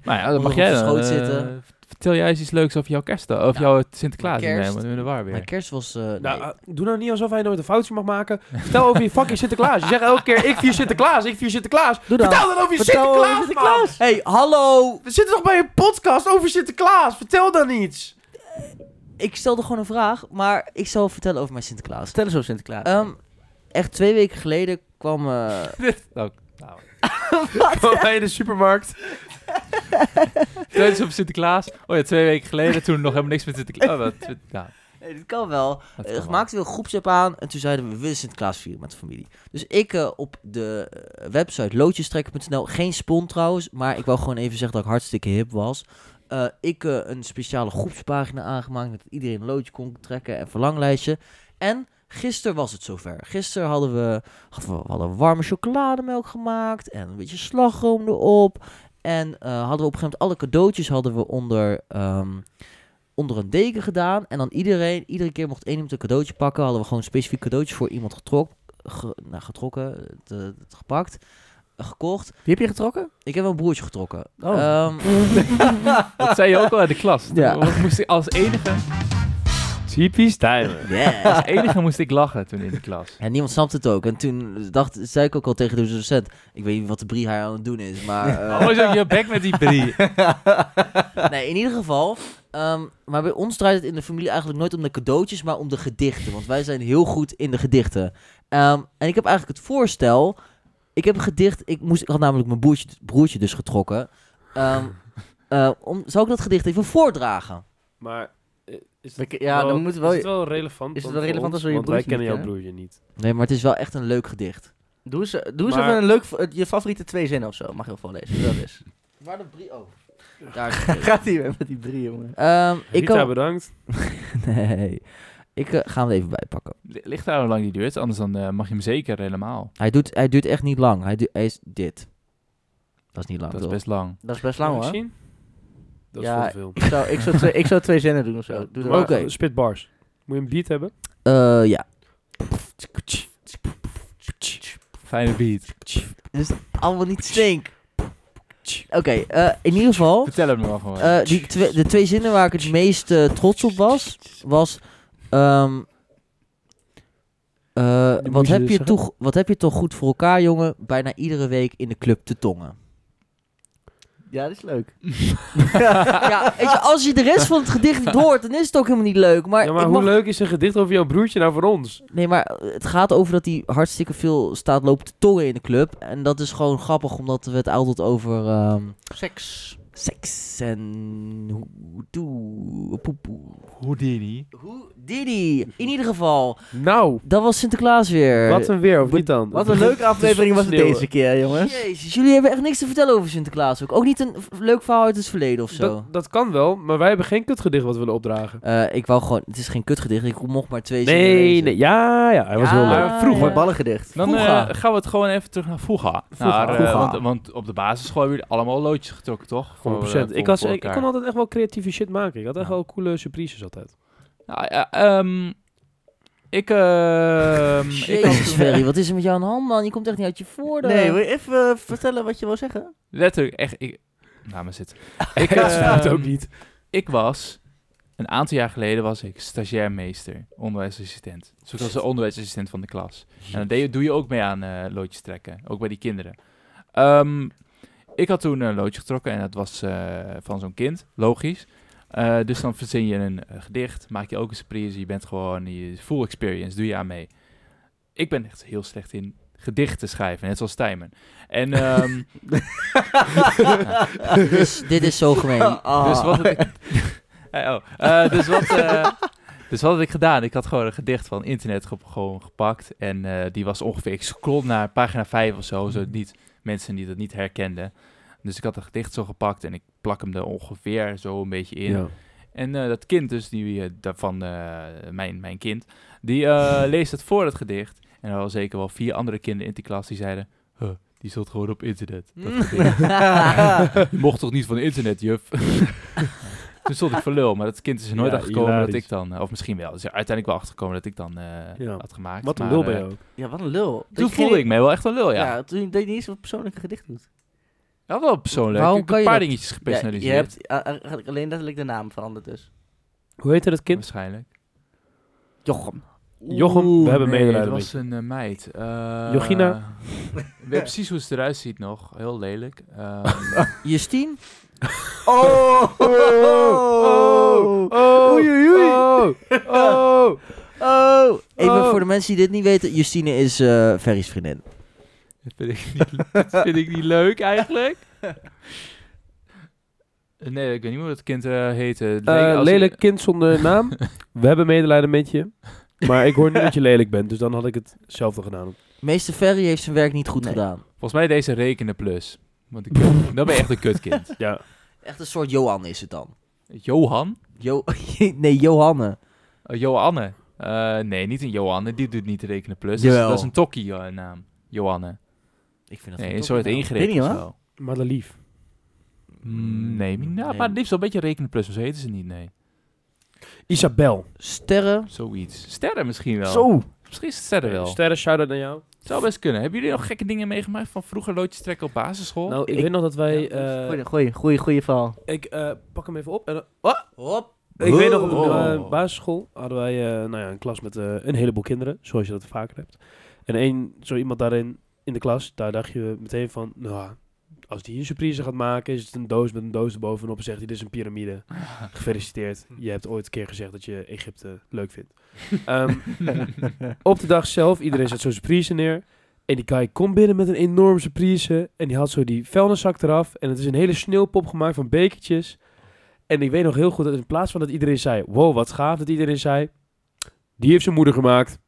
Speaker 4: Nou ja, dan
Speaker 2: Onder
Speaker 4: mag jij
Speaker 2: op de
Speaker 4: dan.
Speaker 2: schoot
Speaker 4: eh,
Speaker 2: zitten.
Speaker 4: vertel jij eens iets leuks over jouw kerst, of jouw Sinterklaas.
Speaker 2: mijn kerst.
Speaker 4: Nee, maar nu in de war
Speaker 2: Mijn
Speaker 4: weer.
Speaker 2: kerst was... eh,
Speaker 5: Nou,
Speaker 2: nee.
Speaker 5: eh, doe nou niet alsof hij nooit een foutje mag maken. Vertel over je fucking Sinterklaas. Je zegt elke keer, ik vier Sinterklaas, ik vier Sinterklaas.
Speaker 2: Doe dan.
Speaker 5: Vertel dan over je
Speaker 3: Nou, Vertel over
Speaker 5: Sinterklaas, man.
Speaker 3: Sinterklaas.
Speaker 2: hey, hallo!
Speaker 5: We zitten toch bij een podcast over Sinterklaas. Vertel dan iets.
Speaker 2: Ik stelde gewoon een vraag, maar ik zal vertellen over mijn Sinterklaas.
Speaker 3: Vertel eens over Sinterklaas.
Speaker 2: Ehm, echt twee weken geleden kwam... eh,
Speaker 4: Nou,
Speaker 5: Gewoon bij de supermarkt.
Speaker 4: Vertel eens op Sinterklaas. Oh ja, twee weken geleden toen nog helemaal niks met Sinterklaas. Oh, dat, dat- nou,
Speaker 2: nee, dit kan wel.
Speaker 4: dat
Speaker 2: Eh,
Speaker 4: kan wel.
Speaker 2: maakten we een groepsapp aan en toen zeiden we, we willen Sinterklaas vieren met de familie. Dus ik eh, op de eh, website loodjestrekker.nl, geen spon trouwens, maar ik wou gewoon even zeggen dat ik hartstikke hip was. Eh, ik eh, een speciale groepspagina aangemaakt dat iedereen een loodje kon trekken en verlanglijstje. En gisteren was het zover. Gisteren hadden we, hadden we, we hadden warme chocolademelk gemaakt en een beetje slagroom erop. En eh, hadden we op een gegeven moment alle cadeautjes hadden we onder... ehm, onder een deken gedaan. En dan iedereen, iedere keer mocht één iemand een cadeautje pakken. Hadden we gewoon specifiek cadeautjes voor iemand getrokken. Ge, nou, getrokken, het, eh, het gepakt, eh, gekocht.
Speaker 3: Wie heb je getrokken?
Speaker 2: Ik heb een broertje getrokken.
Speaker 3: Oh.
Speaker 2: Ehm,
Speaker 4: Dat zei je ook al uit de klas.
Speaker 2: Ja.
Speaker 4: Toen Moest ik als enige,
Speaker 5: Typisch Tijmen.
Speaker 2: yeah.
Speaker 4: als enige moest ik lachen toen in de klas.
Speaker 2: En niemand snapte het ook. En toen dacht, zei ik ook al tegen de docent... Ik weet niet wat de brie haar aan het doen is, maar... eh,
Speaker 4: Oh, zo, je bek met die brie.
Speaker 2: nee, in ieder geval. ehm, maar bij ons draait het in de familie eigenlijk nooit om de cadeautjes, maar om de gedichten. Want wij zijn heel goed in de gedichten. Ehm, en ik heb eigenlijk het voorstel. Ik heb een gedicht. Ik, moest, ik had namelijk mijn broertje, broertje dus getrokken. Ehm eh, om, zou ik dat gedicht even voordragen?
Speaker 5: Maar eh, is
Speaker 3: We-
Speaker 5: het,
Speaker 3: ja,
Speaker 5: wel,
Speaker 3: dan moeten we wel-
Speaker 5: is het wel relevant?
Speaker 3: is het
Speaker 5: dan
Speaker 3: wel
Speaker 5: voor
Speaker 3: relevant
Speaker 5: ons?
Speaker 3: als we je
Speaker 5: Want wij
Speaker 3: broertje
Speaker 5: kennen
Speaker 3: niet
Speaker 5: jouw broertje niet.
Speaker 2: Nee, maar het is wel echt een leuk gedicht.
Speaker 3: Doe eens, eh, doe eens
Speaker 5: Maar-
Speaker 3: even een leuk, v- eh, je favoriete twee zinnen of zo. Mag je wel voorlezen. Dat is.
Speaker 2: Waar de brie? Oh. Daar is het.
Speaker 3: Gaat hij weer met die drie, jongen.
Speaker 2: Ehm, ik
Speaker 5: Rita,
Speaker 2: kan...
Speaker 5: bedankt.
Speaker 2: Nee. Ik eh, ga hem er even bij pakken.
Speaker 4: Ligt daar hoe lang die duurt, anders dan eh, mag je hem zeker helemaal.
Speaker 2: Hij, doet, hij duurt echt niet lang. Hij, du- hij is dit. Dat is niet lang,
Speaker 4: Dat is
Speaker 2: toch?
Speaker 4: best lang.
Speaker 3: Dat is best lang
Speaker 5: Mag ik
Speaker 3: hoor.
Speaker 5: zien? Dat is
Speaker 3: Ja,
Speaker 5: veel te veel.
Speaker 3: Ik zou, ik, zou twee, ik zou twee zinnen doen of zo. Doe dat
Speaker 5: Maar,
Speaker 2: Oké.
Speaker 5: eh, Spitbars. Moet je een beat hebben?
Speaker 2: Eh, ja.
Speaker 4: Fijne beat.
Speaker 2: Dus allemaal niet stink. Oké, eh, in ieder geval.
Speaker 4: Vertel hem nog gewoon.
Speaker 2: eh, die twe- de twee zinnen waar ik het meest eh, trots op was, was. ehm, eh,
Speaker 5: Die moet
Speaker 2: wat,
Speaker 5: je
Speaker 2: heb
Speaker 5: dus
Speaker 2: je
Speaker 5: zeggen.
Speaker 2: toch, wat heb je toch goed voor elkaar, jongen? Bijna iedere week in de club te tongen.
Speaker 3: Ja, dat is leuk.
Speaker 2: ja, weet je, als je de rest van het gedicht niet hoort, dan is het ook helemaal niet leuk. Maar,
Speaker 5: ja, maar
Speaker 2: ik
Speaker 5: hoe
Speaker 2: mag-
Speaker 5: leuk is een gedicht over jouw broertje nou voor ons?
Speaker 2: Nee, maar eh, het gaat over dat hij hartstikke veel staat lopen te tongen in de club. En dat is gewoon grappig, omdat we het altijd over. ehm,
Speaker 3: Seks.
Speaker 2: seks en hoe- doe poepoe.
Speaker 4: Houdini.
Speaker 2: Hoe Didi. In ieder geval,
Speaker 5: Nou,
Speaker 2: dat was Sinterklaas weer.
Speaker 5: wat een weer, of niet dan?
Speaker 3: Wat een leuke aflevering was het
Speaker 5: sneeuwen.
Speaker 3: deze keer, jongens.
Speaker 2: Jezus, jullie hebben echt niks te vertellen over Sinterklaas ook. Ook niet een v- leuk verhaal uit het verleden of zo.
Speaker 5: Dat, dat kan wel, maar wij hebben geen kutgedicht wat we willen opdragen.
Speaker 2: Eh, ik wou gewoon, het is geen kutgedicht, ik mocht maar twee zinnen
Speaker 5: Nee,
Speaker 2: lezen.
Speaker 5: nee, ja, ja, hij was
Speaker 2: Ja,
Speaker 5: heel leuk.
Speaker 2: ja.
Speaker 3: Vroeg, wat ballen gedicht.
Speaker 4: Dan
Speaker 2: Voega.
Speaker 4: eh, gaan we het gewoon even terug naar vroeger.
Speaker 5: Voega. Voega.
Speaker 4: want, want op de basisschool hebben jullie allemaal loodjes getrokken, toch? Voor, eh,
Speaker 5: 100%.
Speaker 4: voor-
Speaker 5: Ik, was,
Speaker 4: voor
Speaker 5: ik, ik
Speaker 4: elkaar.
Speaker 5: kon altijd echt wel creatieve shit maken. Ik had echt
Speaker 4: Ja.
Speaker 5: wel coole surprises altijd.
Speaker 4: Nou ja, ehm, ik, ehm, ik had
Speaker 2: Jezus,
Speaker 4: toen-
Speaker 2: Ferry, wat is er met jou aan de hand, man? Je komt echt niet uit je voordeel.
Speaker 3: Nee, wil je even eh, vertellen wat je wil zeggen?
Speaker 4: letterlijk echt. Ik, nou, maar zit. Ik,
Speaker 5: Dat snapt
Speaker 4: ehm,
Speaker 5: ook niet.
Speaker 4: ik was een aantal jaar geleden was ik stagiairmeester, onderwijsassistent. Dus ik was de onderwijsassistent van de klas. En dan deed- doe je ook mee aan eh, loodjes trekken, ook bij die kinderen. Ehm, ik had toen een loodje getrokken en dat was eh, van zo'n kind, logisch. Eh, dus dan verzin je een eh, gedicht, maak je ook een surprise, je bent gewoon je full experience, doe je aan mee. Ik ben echt heel slecht in gedichten schrijven, net zoals Tijmen. En ehm,
Speaker 2: Dit is- Dus dit is zo gemeen.
Speaker 3: Ah.
Speaker 4: Dus wat had ik... Hey, oh. Eh, dus, wat, eh, dus wat had ik gedaan? Ik had gewoon een gedicht van internet ge- gewoon gepakt. En eh, die was ongeveer... Ik scroll naar pagina 5 of zo. zo niet, mensen die dat niet herkenden. Dus ik had een gedicht zo gepakt. En ik plak hem er ongeveer zo een beetje in. En eh, dat kind dus, die, eh, daarvan eh, mijn, mijn kind, die eh, leest het voor het gedicht. En er waren zeker wel vier andere kinderen in die klas die zeiden... "Huh, die zat gewoon op internet. Dat gedicht." je mocht toch niet van internet, juf? Toen stond ik voor lul, maar dat kind is er nooit
Speaker 5: Ja,
Speaker 4: achtergekomen dat
Speaker 5: hilarisch.
Speaker 4: ik dan... eh, Of misschien wel, is er uiteindelijk wel achtergekomen dat ik dan eh,
Speaker 5: Ja.
Speaker 4: had gemaakt.
Speaker 5: Wat een
Speaker 4: maar,
Speaker 5: lul
Speaker 4: eh,
Speaker 5: ben je ook.
Speaker 3: Ja, wat een lul. Dat
Speaker 4: Toen
Speaker 3: je geen-
Speaker 4: voelde ik mij wel echt een lul, ja.
Speaker 3: Ja, toen deed je niet eens een persoonlijke gedicht doet.
Speaker 4: Ja, wel persoonlijk.
Speaker 2: Waarom
Speaker 4: ik heb
Speaker 2: kan
Speaker 4: een
Speaker 2: je
Speaker 4: paar
Speaker 2: dat?
Speaker 4: dingetjes
Speaker 3: Ja, je
Speaker 4: gepersonaliseerd,
Speaker 3: hebt ah, a- eigenlijk alleen letterlijk de naam veranderd dus.
Speaker 5: Hoe heette dat kind?
Speaker 4: waarschijnlijk.
Speaker 3: Jochem.
Speaker 5: Jochem, we hebben
Speaker 4: nee,
Speaker 5: medelijden
Speaker 4: dat
Speaker 5: met
Speaker 4: was een eh, meid. Eh,
Speaker 5: Jochina?
Speaker 4: Ik weet precies hoe ze eruit ziet nog. Heel lelijk. Ehm,
Speaker 2: Justine?
Speaker 3: Oh! Oh! Oei, oei, oei.
Speaker 5: Oh, oh.
Speaker 2: Oh! Even
Speaker 5: Oh.
Speaker 2: voor de mensen die dit niet weten, Justine is eh Ferry's vriendin.
Speaker 4: dat, vind ik niet, dat vind ik niet leuk eigenlijk. Eh, Nee, ik weet niet hoe dat kind eh, heette. Het leek
Speaker 5: Eh,
Speaker 4: als-
Speaker 5: lelijk kind zonder naam. We hebben medelijden met je. Maar ik hoor nu dat je lelijk bent, dus dan had ik hetzelfde gedaan.
Speaker 2: Meester Ferry heeft zijn werk niet goed
Speaker 3: Nee.
Speaker 2: gedaan.
Speaker 4: Volgens mij deze rekenen plus. Want ik, dan ben je echt een kutkind.
Speaker 5: Ja.
Speaker 2: Echt een soort Johan is het dan.
Speaker 4: Johan?
Speaker 2: Jo nee, Johanne.
Speaker 4: Eh, Johanne. Eh, nee, niet een Johanne. Die doet niet rekenen plus. Dat is-
Speaker 2: Jawel.
Speaker 4: Dat is een tokkie eh, naam. Johanne.
Speaker 2: Ik vind dat
Speaker 4: Nee,
Speaker 2: geen
Speaker 4: een
Speaker 2: topnaam.
Speaker 4: soort ingerekend
Speaker 3: Weet niet,
Speaker 4: of
Speaker 3: hoor.
Speaker 4: zo.
Speaker 5: Maar de lief.
Speaker 4: Mm, Nee, nou,
Speaker 2: Nee.
Speaker 4: maar het liefst wel een beetje rekenen plus. Zo heten ze niet, nee.
Speaker 5: Isabel.
Speaker 2: Sterren.
Speaker 4: Zoiets. Sterren misschien wel.
Speaker 5: Zo.
Speaker 4: Misschien is het sterren wel.
Speaker 5: Sterren, shout-out naar jou.
Speaker 4: Zou best kunnen. Hebben jullie nog gekke dingen meegemaakt van vroeger loodjes trekken op basisschool?
Speaker 5: Nou, ik,
Speaker 3: Ik-
Speaker 5: weet nog dat wij... eh,
Speaker 3: Goeie, goeie, goeie, goeie val.
Speaker 5: ik eh, pak hem even op. En, dan-
Speaker 2: Hop.
Speaker 5: ik weet nog, op de
Speaker 4: Oh.
Speaker 5: eh, basisschool hadden wij eh, nou ja, een klas met eh, een heleboel kinderen, zoals je dat vaker hebt. En één, zo iemand daarin, in de klas, daar dacht je meteen van... Nou, als die een surprise gaat maken, is het een doos met een doos erbovenop en zegt hij, dit is een piramide. Gefeliciteerd. Je hebt ooit een keer gezegd dat je Egypte leuk vindt. Ehm, op de dag zelf, iedereen zet zo'n surprise neer. En die guy komt binnen met een enorme surprise. En die haalt zo die vuilniszak eraf. En het is een hele sneeuwpop gemaakt van bekertjes. En ik weet nog heel goed dat in plaats van dat iedereen zei... Wow, wat gaaf dat iedereen zei... Die heeft zijn moeder gemaakt.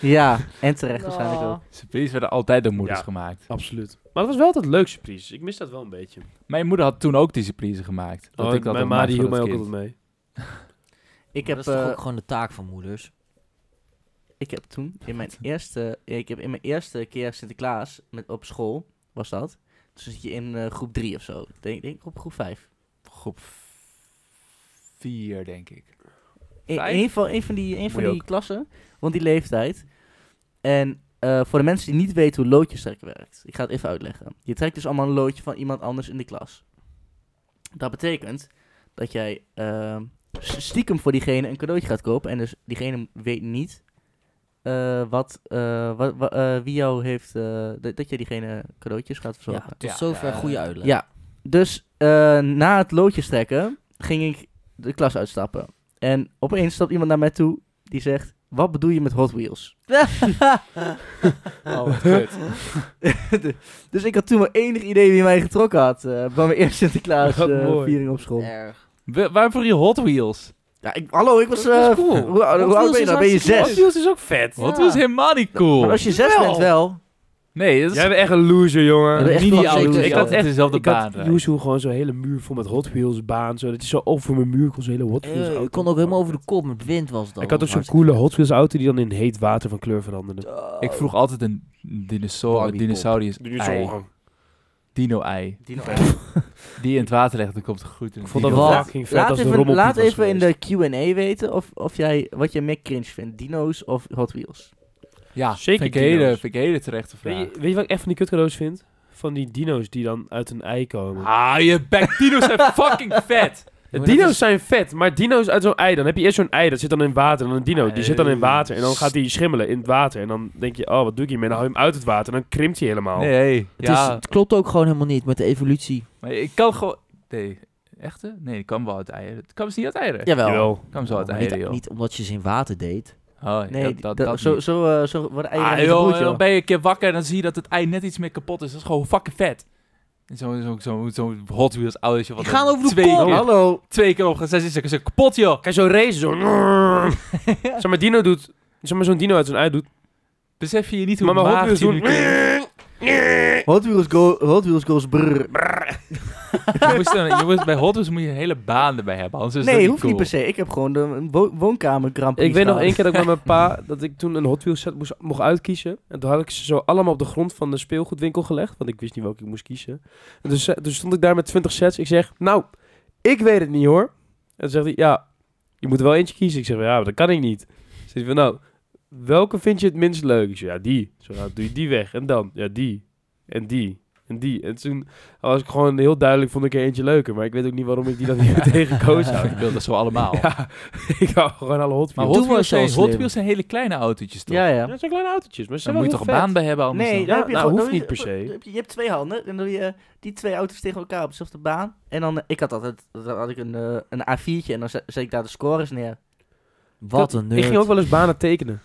Speaker 3: Ja, en terecht waarschijnlijk ook.
Speaker 4: Surprise werden altijd door moeders
Speaker 5: Ja.
Speaker 4: gemaakt.
Speaker 5: Absoluut. Maar het was wel altijd leuk surprise. Ik mis dat wel een beetje.
Speaker 4: Mijn moeder had toen ook die surprise gemaakt. Dat ik dat
Speaker 5: Oh, mijn
Speaker 4: dan
Speaker 5: ma
Speaker 4: maakte
Speaker 5: die
Speaker 4: voor
Speaker 5: hield mij
Speaker 4: dat
Speaker 5: ook
Speaker 4: kind.
Speaker 5: altijd mee.
Speaker 3: Ik
Speaker 2: Dat
Speaker 3: heb,
Speaker 2: is toch
Speaker 3: eh,
Speaker 2: ook gewoon de taak van moeders.
Speaker 3: ik heb toen in mijn eerste, ja, ik heb in mijn eerste keer Sinterklaas met, op school, was dat. Toen zit je in eh, groep 3 of zo. Denk, denk ik op groep 5.
Speaker 4: Groep 4, denk ik.
Speaker 3: In, in
Speaker 4: Vijf?
Speaker 3: ieder geval E- een van die, een van
Speaker 5: je
Speaker 3: die klassen, want die leeftijd. En eh, voor de mensen die niet weten hoe loodjes trekken werkt, ik ga het even uitleggen. Je trekt dus allemaal een loodje van iemand anders in de klas. Dat betekent dat jij ehm, s- stiekem voor diegene een cadeautje gaat kopen en dus diegene weet niet eh, wat, eh, wa- wa- eh, wie jou heeft, eh, dat dat jij diegene cadeautjes gaat
Speaker 2: Ja,
Speaker 3: verzorgen.
Speaker 2: tot
Speaker 4: Ja,
Speaker 2: zover
Speaker 4: eh,
Speaker 2: goede uitleg.
Speaker 3: Ja, dus eh, na het loodje trekken ging ik de klas uitstappen. En opeens stapt iemand naar mij toe die zegt, wat bedoel je met Hot Wheels?
Speaker 4: Oh, wat kut.
Speaker 3: dus ik had toen maar enig idee wie mij getrokken had eh, bij mijn eerste Sinterklaas
Speaker 5: Wat
Speaker 3: eh,
Speaker 5: mooi.
Speaker 3: viering op school.
Speaker 2: Erg.
Speaker 4: We- Waarvoor je Hot Wheels?
Speaker 3: Ja, ik, hallo, ik was... eh,
Speaker 4: cool.
Speaker 3: hoe, hoe
Speaker 2: Wheels
Speaker 3: oud ben je
Speaker 2: is
Speaker 3: dan? Ben je
Speaker 2: hartstikke
Speaker 3: zes?
Speaker 5: Wheels is ook vet.
Speaker 4: Hot Wheels is helemaal niet cool.
Speaker 3: Maar als je zes
Speaker 4: Wel.
Speaker 3: bent wel.
Speaker 4: Nee, dat is
Speaker 5: Jij bent echt een loser, jongen.
Speaker 3: Ja, echt
Speaker 4: niet die
Speaker 3: wel
Speaker 4: auto's.
Speaker 3: zeker.
Speaker 4: Ik had echt dezelfde
Speaker 5: Ik had
Speaker 4: baan.
Speaker 5: Yuzu gewoon zo'n hele muur vol met Hot Wheels baan. Zodat je zo over mijn muur kon zo'n hele Hot
Speaker 3: Eh,
Speaker 5: Wheels auto.
Speaker 2: ik kon ook helemaal over de kop, met wind was dat.
Speaker 3: Oh,
Speaker 5: Ik had ook zo'n coole Hot Wheels auto die dan in heet water van kleur veranderde.
Speaker 3: Eh,
Speaker 4: Ik vroeg altijd een dinosaur,
Speaker 2: Barbie
Speaker 4: dinosaurius ei.
Speaker 5: Ik
Speaker 4: Dino-ei.
Speaker 2: Dino.
Speaker 4: Die in het water legt, dan komt het goed. Ik
Speaker 5: vond dat
Speaker 3: Wat?
Speaker 5: wel fucking vet
Speaker 3: Laat
Speaker 5: als de
Speaker 3: even,
Speaker 5: rommelpiet
Speaker 3: laat
Speaker 5: was
Speaker 3: even in de
Speaker 5: geweest.
Speaker 3: Q&A weten of, of jij, wat jij meer cringe vindt, dino's of Hot Wheels.
Speaker 4: Ja,
Speaker 5: Zeker
Speaker 4: vind ik, hele,
Speaker 5: dino's.
Speaker 4: vind ik hele terechte vraag.
Speaker 5: Weet je, weet je wat ik echt van die kutcadeaus vind? Van die dino's die dan uit een ei komen.
Speaker 4: Ah, je bek. Dino's zijn fucking vet.
Speaker 2: maar dat
Speaker 5: dino's
Speaker 2: is-
Speaker 5: zijn vet, maar dino's uit zo'n ei. Dan heb je eerst zo'n ei, dat zit dan in water. En dan een dino, die zit dan in water. En dan gaat die schimmelen in het water. En dan denk je, oh, wat doe ik hiermee? Dan hou je hem uit het water. En dan krimpt hij helemaal.
Speaker 4: Nee,
Speaker 2: Het, is,
Speaker 4: ja.
Speaker 2: het klopt ook gewoon helemaal niet met de evolutie.
Speaker 4: Maar ik kan gewoon... Nee, echte? Nee, ik kan wel uit eieren. Het kan ze niet uit eieren.
Speaker 2: Jawel.
Speaker 5: Jawel.
Speaker 4: Ik kan ze wel uit
Speaker 2: Maar
Speaker 4: eieren,
Speaker 2: niet,
Speaker 4: joh.
Speaker 2: niet omdat je ze in water deed.
Speaker 4: Oh,
Speaker 3: Oh, Nee,
Speaker 4: dat, dat,
Speaker 3: dat-
Speaker 4: dat
Speaker 3: zo,
Speaker 4: niet.
Speaker 3: zo, eh, zo worden eieren
Speaker 4: Ah,
Speaker 3: niet
Speaker 4: joh,
Speaker 3: gebroed,
Speaker 4: en dan
Speaker 3: joh.
Speaker 4: ben je een keer wakker en dan zie je dat het ei net iets meer kapot is. Dat is gewoon fucking vet. En Zo'n zo, zo, zo Hot Wheels autootje. wat
Speaker 2: Die
Speaker 4: er
Speaker 2: gaan over de
Speaker 4: twee,
Speaker 2: kop.
Speaker 4: keer-
Speaker 5: Hallo.
Speaker 4: twee keer op gaat. Zij zijn ze kapot, joh.
Speaker 5: Kijk, zo'n race, zo. zeg maar, dino doet. Zeg maar, zo'n dino uit zijn ei doet.
Speaker 4: Besef je niet hoe
Speaker 5: Maar mijn Hot
Speaker 4: magisch
Speaker 5: Wheels doen.
Speaker 4: die nu klinkt?
Speaker 3: Hot Wheels, go, Hot Wheels goes brrr.
Speaker 4: je, moest dan- je moest- bij Hot Wheels moet je een hele baan erbij hebben, anders is dat
Speaker 3: nee,
Speaker 4: niet
Speaker 3: hoeft
Speaker 4: cool.
Speaker 3: niet per se. Ik heb gewoon de een wo- woonkamer Grand Prix
Speaker 5: dus Ik weet nog
Speaker 3: gedaan.
Speaker 5: één keer dat ik met mijn pa, dat ik toen een Hot Wheels set moest, mocht uitkiezen. En toen had ik ze zo allemaal op de grond van de speelgoedwinkel gelegd, want ik wist niet welke ik moest kiezen. En dus, eh, dus stond ik daar met 20 sets. Ik zeg, nou, ik weet het niet hoor. En toen zegt hij, ja, je moet er wel eentje kiezen. Ik zeg, ja, maar dat kan ik niet. Toen zegt hij van, nou, welke vind je het minst leuk? Ik zeg, ja, die. Zo, nou, doe je die weg. En dan, ja, die. En die. En die. En toen was ik gewoon heel duidelijk, vond ik er eentje leuker. Maar ik weet ook niet waarom ik die dan niet tegen koos.
Speaker 4: Ja, ik wilde zo allemaal.
Speaker 5: Ja, ik hou gewoon alle Hot
Speaker 4: Maar
Speaker 5: Wheels.
Speaker 4: Hot
Speaker 2: Toen
Speaker 4: Wheels,
Speaker 2: was je al
Speaker 4: zijn, Hot
Speaker 2: slim.
Speaker 4: Wheels zijn hele kleine autootjes toch?
Speaker 3: Ja, ja.
Speaker 5: Dat zijn kleine autootjes, maar ze
Speaker 4: Daar
Speaker 5: zijn
Speaker 4: moet je
Speaker 5: wel
Speaker 4: toch een
Speaker 5: heel
Speaker 4: baan bij hebben anders
Speaker 3: Nee,
Speaker 5: Ja,
Speaker 4: dan?
Speaker 3: daar heb je
Speaker 5: nou,
Speaker 3: gewoon-
Speaker 5: hoeft
Speaker 3: dan-
Speaker 5: niet per se.
Speaker 3: dan heb Je je hebt twee handen en dan doe je eh, die twee auto's tegen elkaar op dezelfde baan. En dan, eh, ik had altijd dan had ik een, eh, een A4'tje en dan zet, zet ik daar de scores neer.
Speaker 2: Wat een
Speaker 5: vet.
Speaker 2: nerd.
Speaker 5: Ik ging ook wel eens banen tekenen.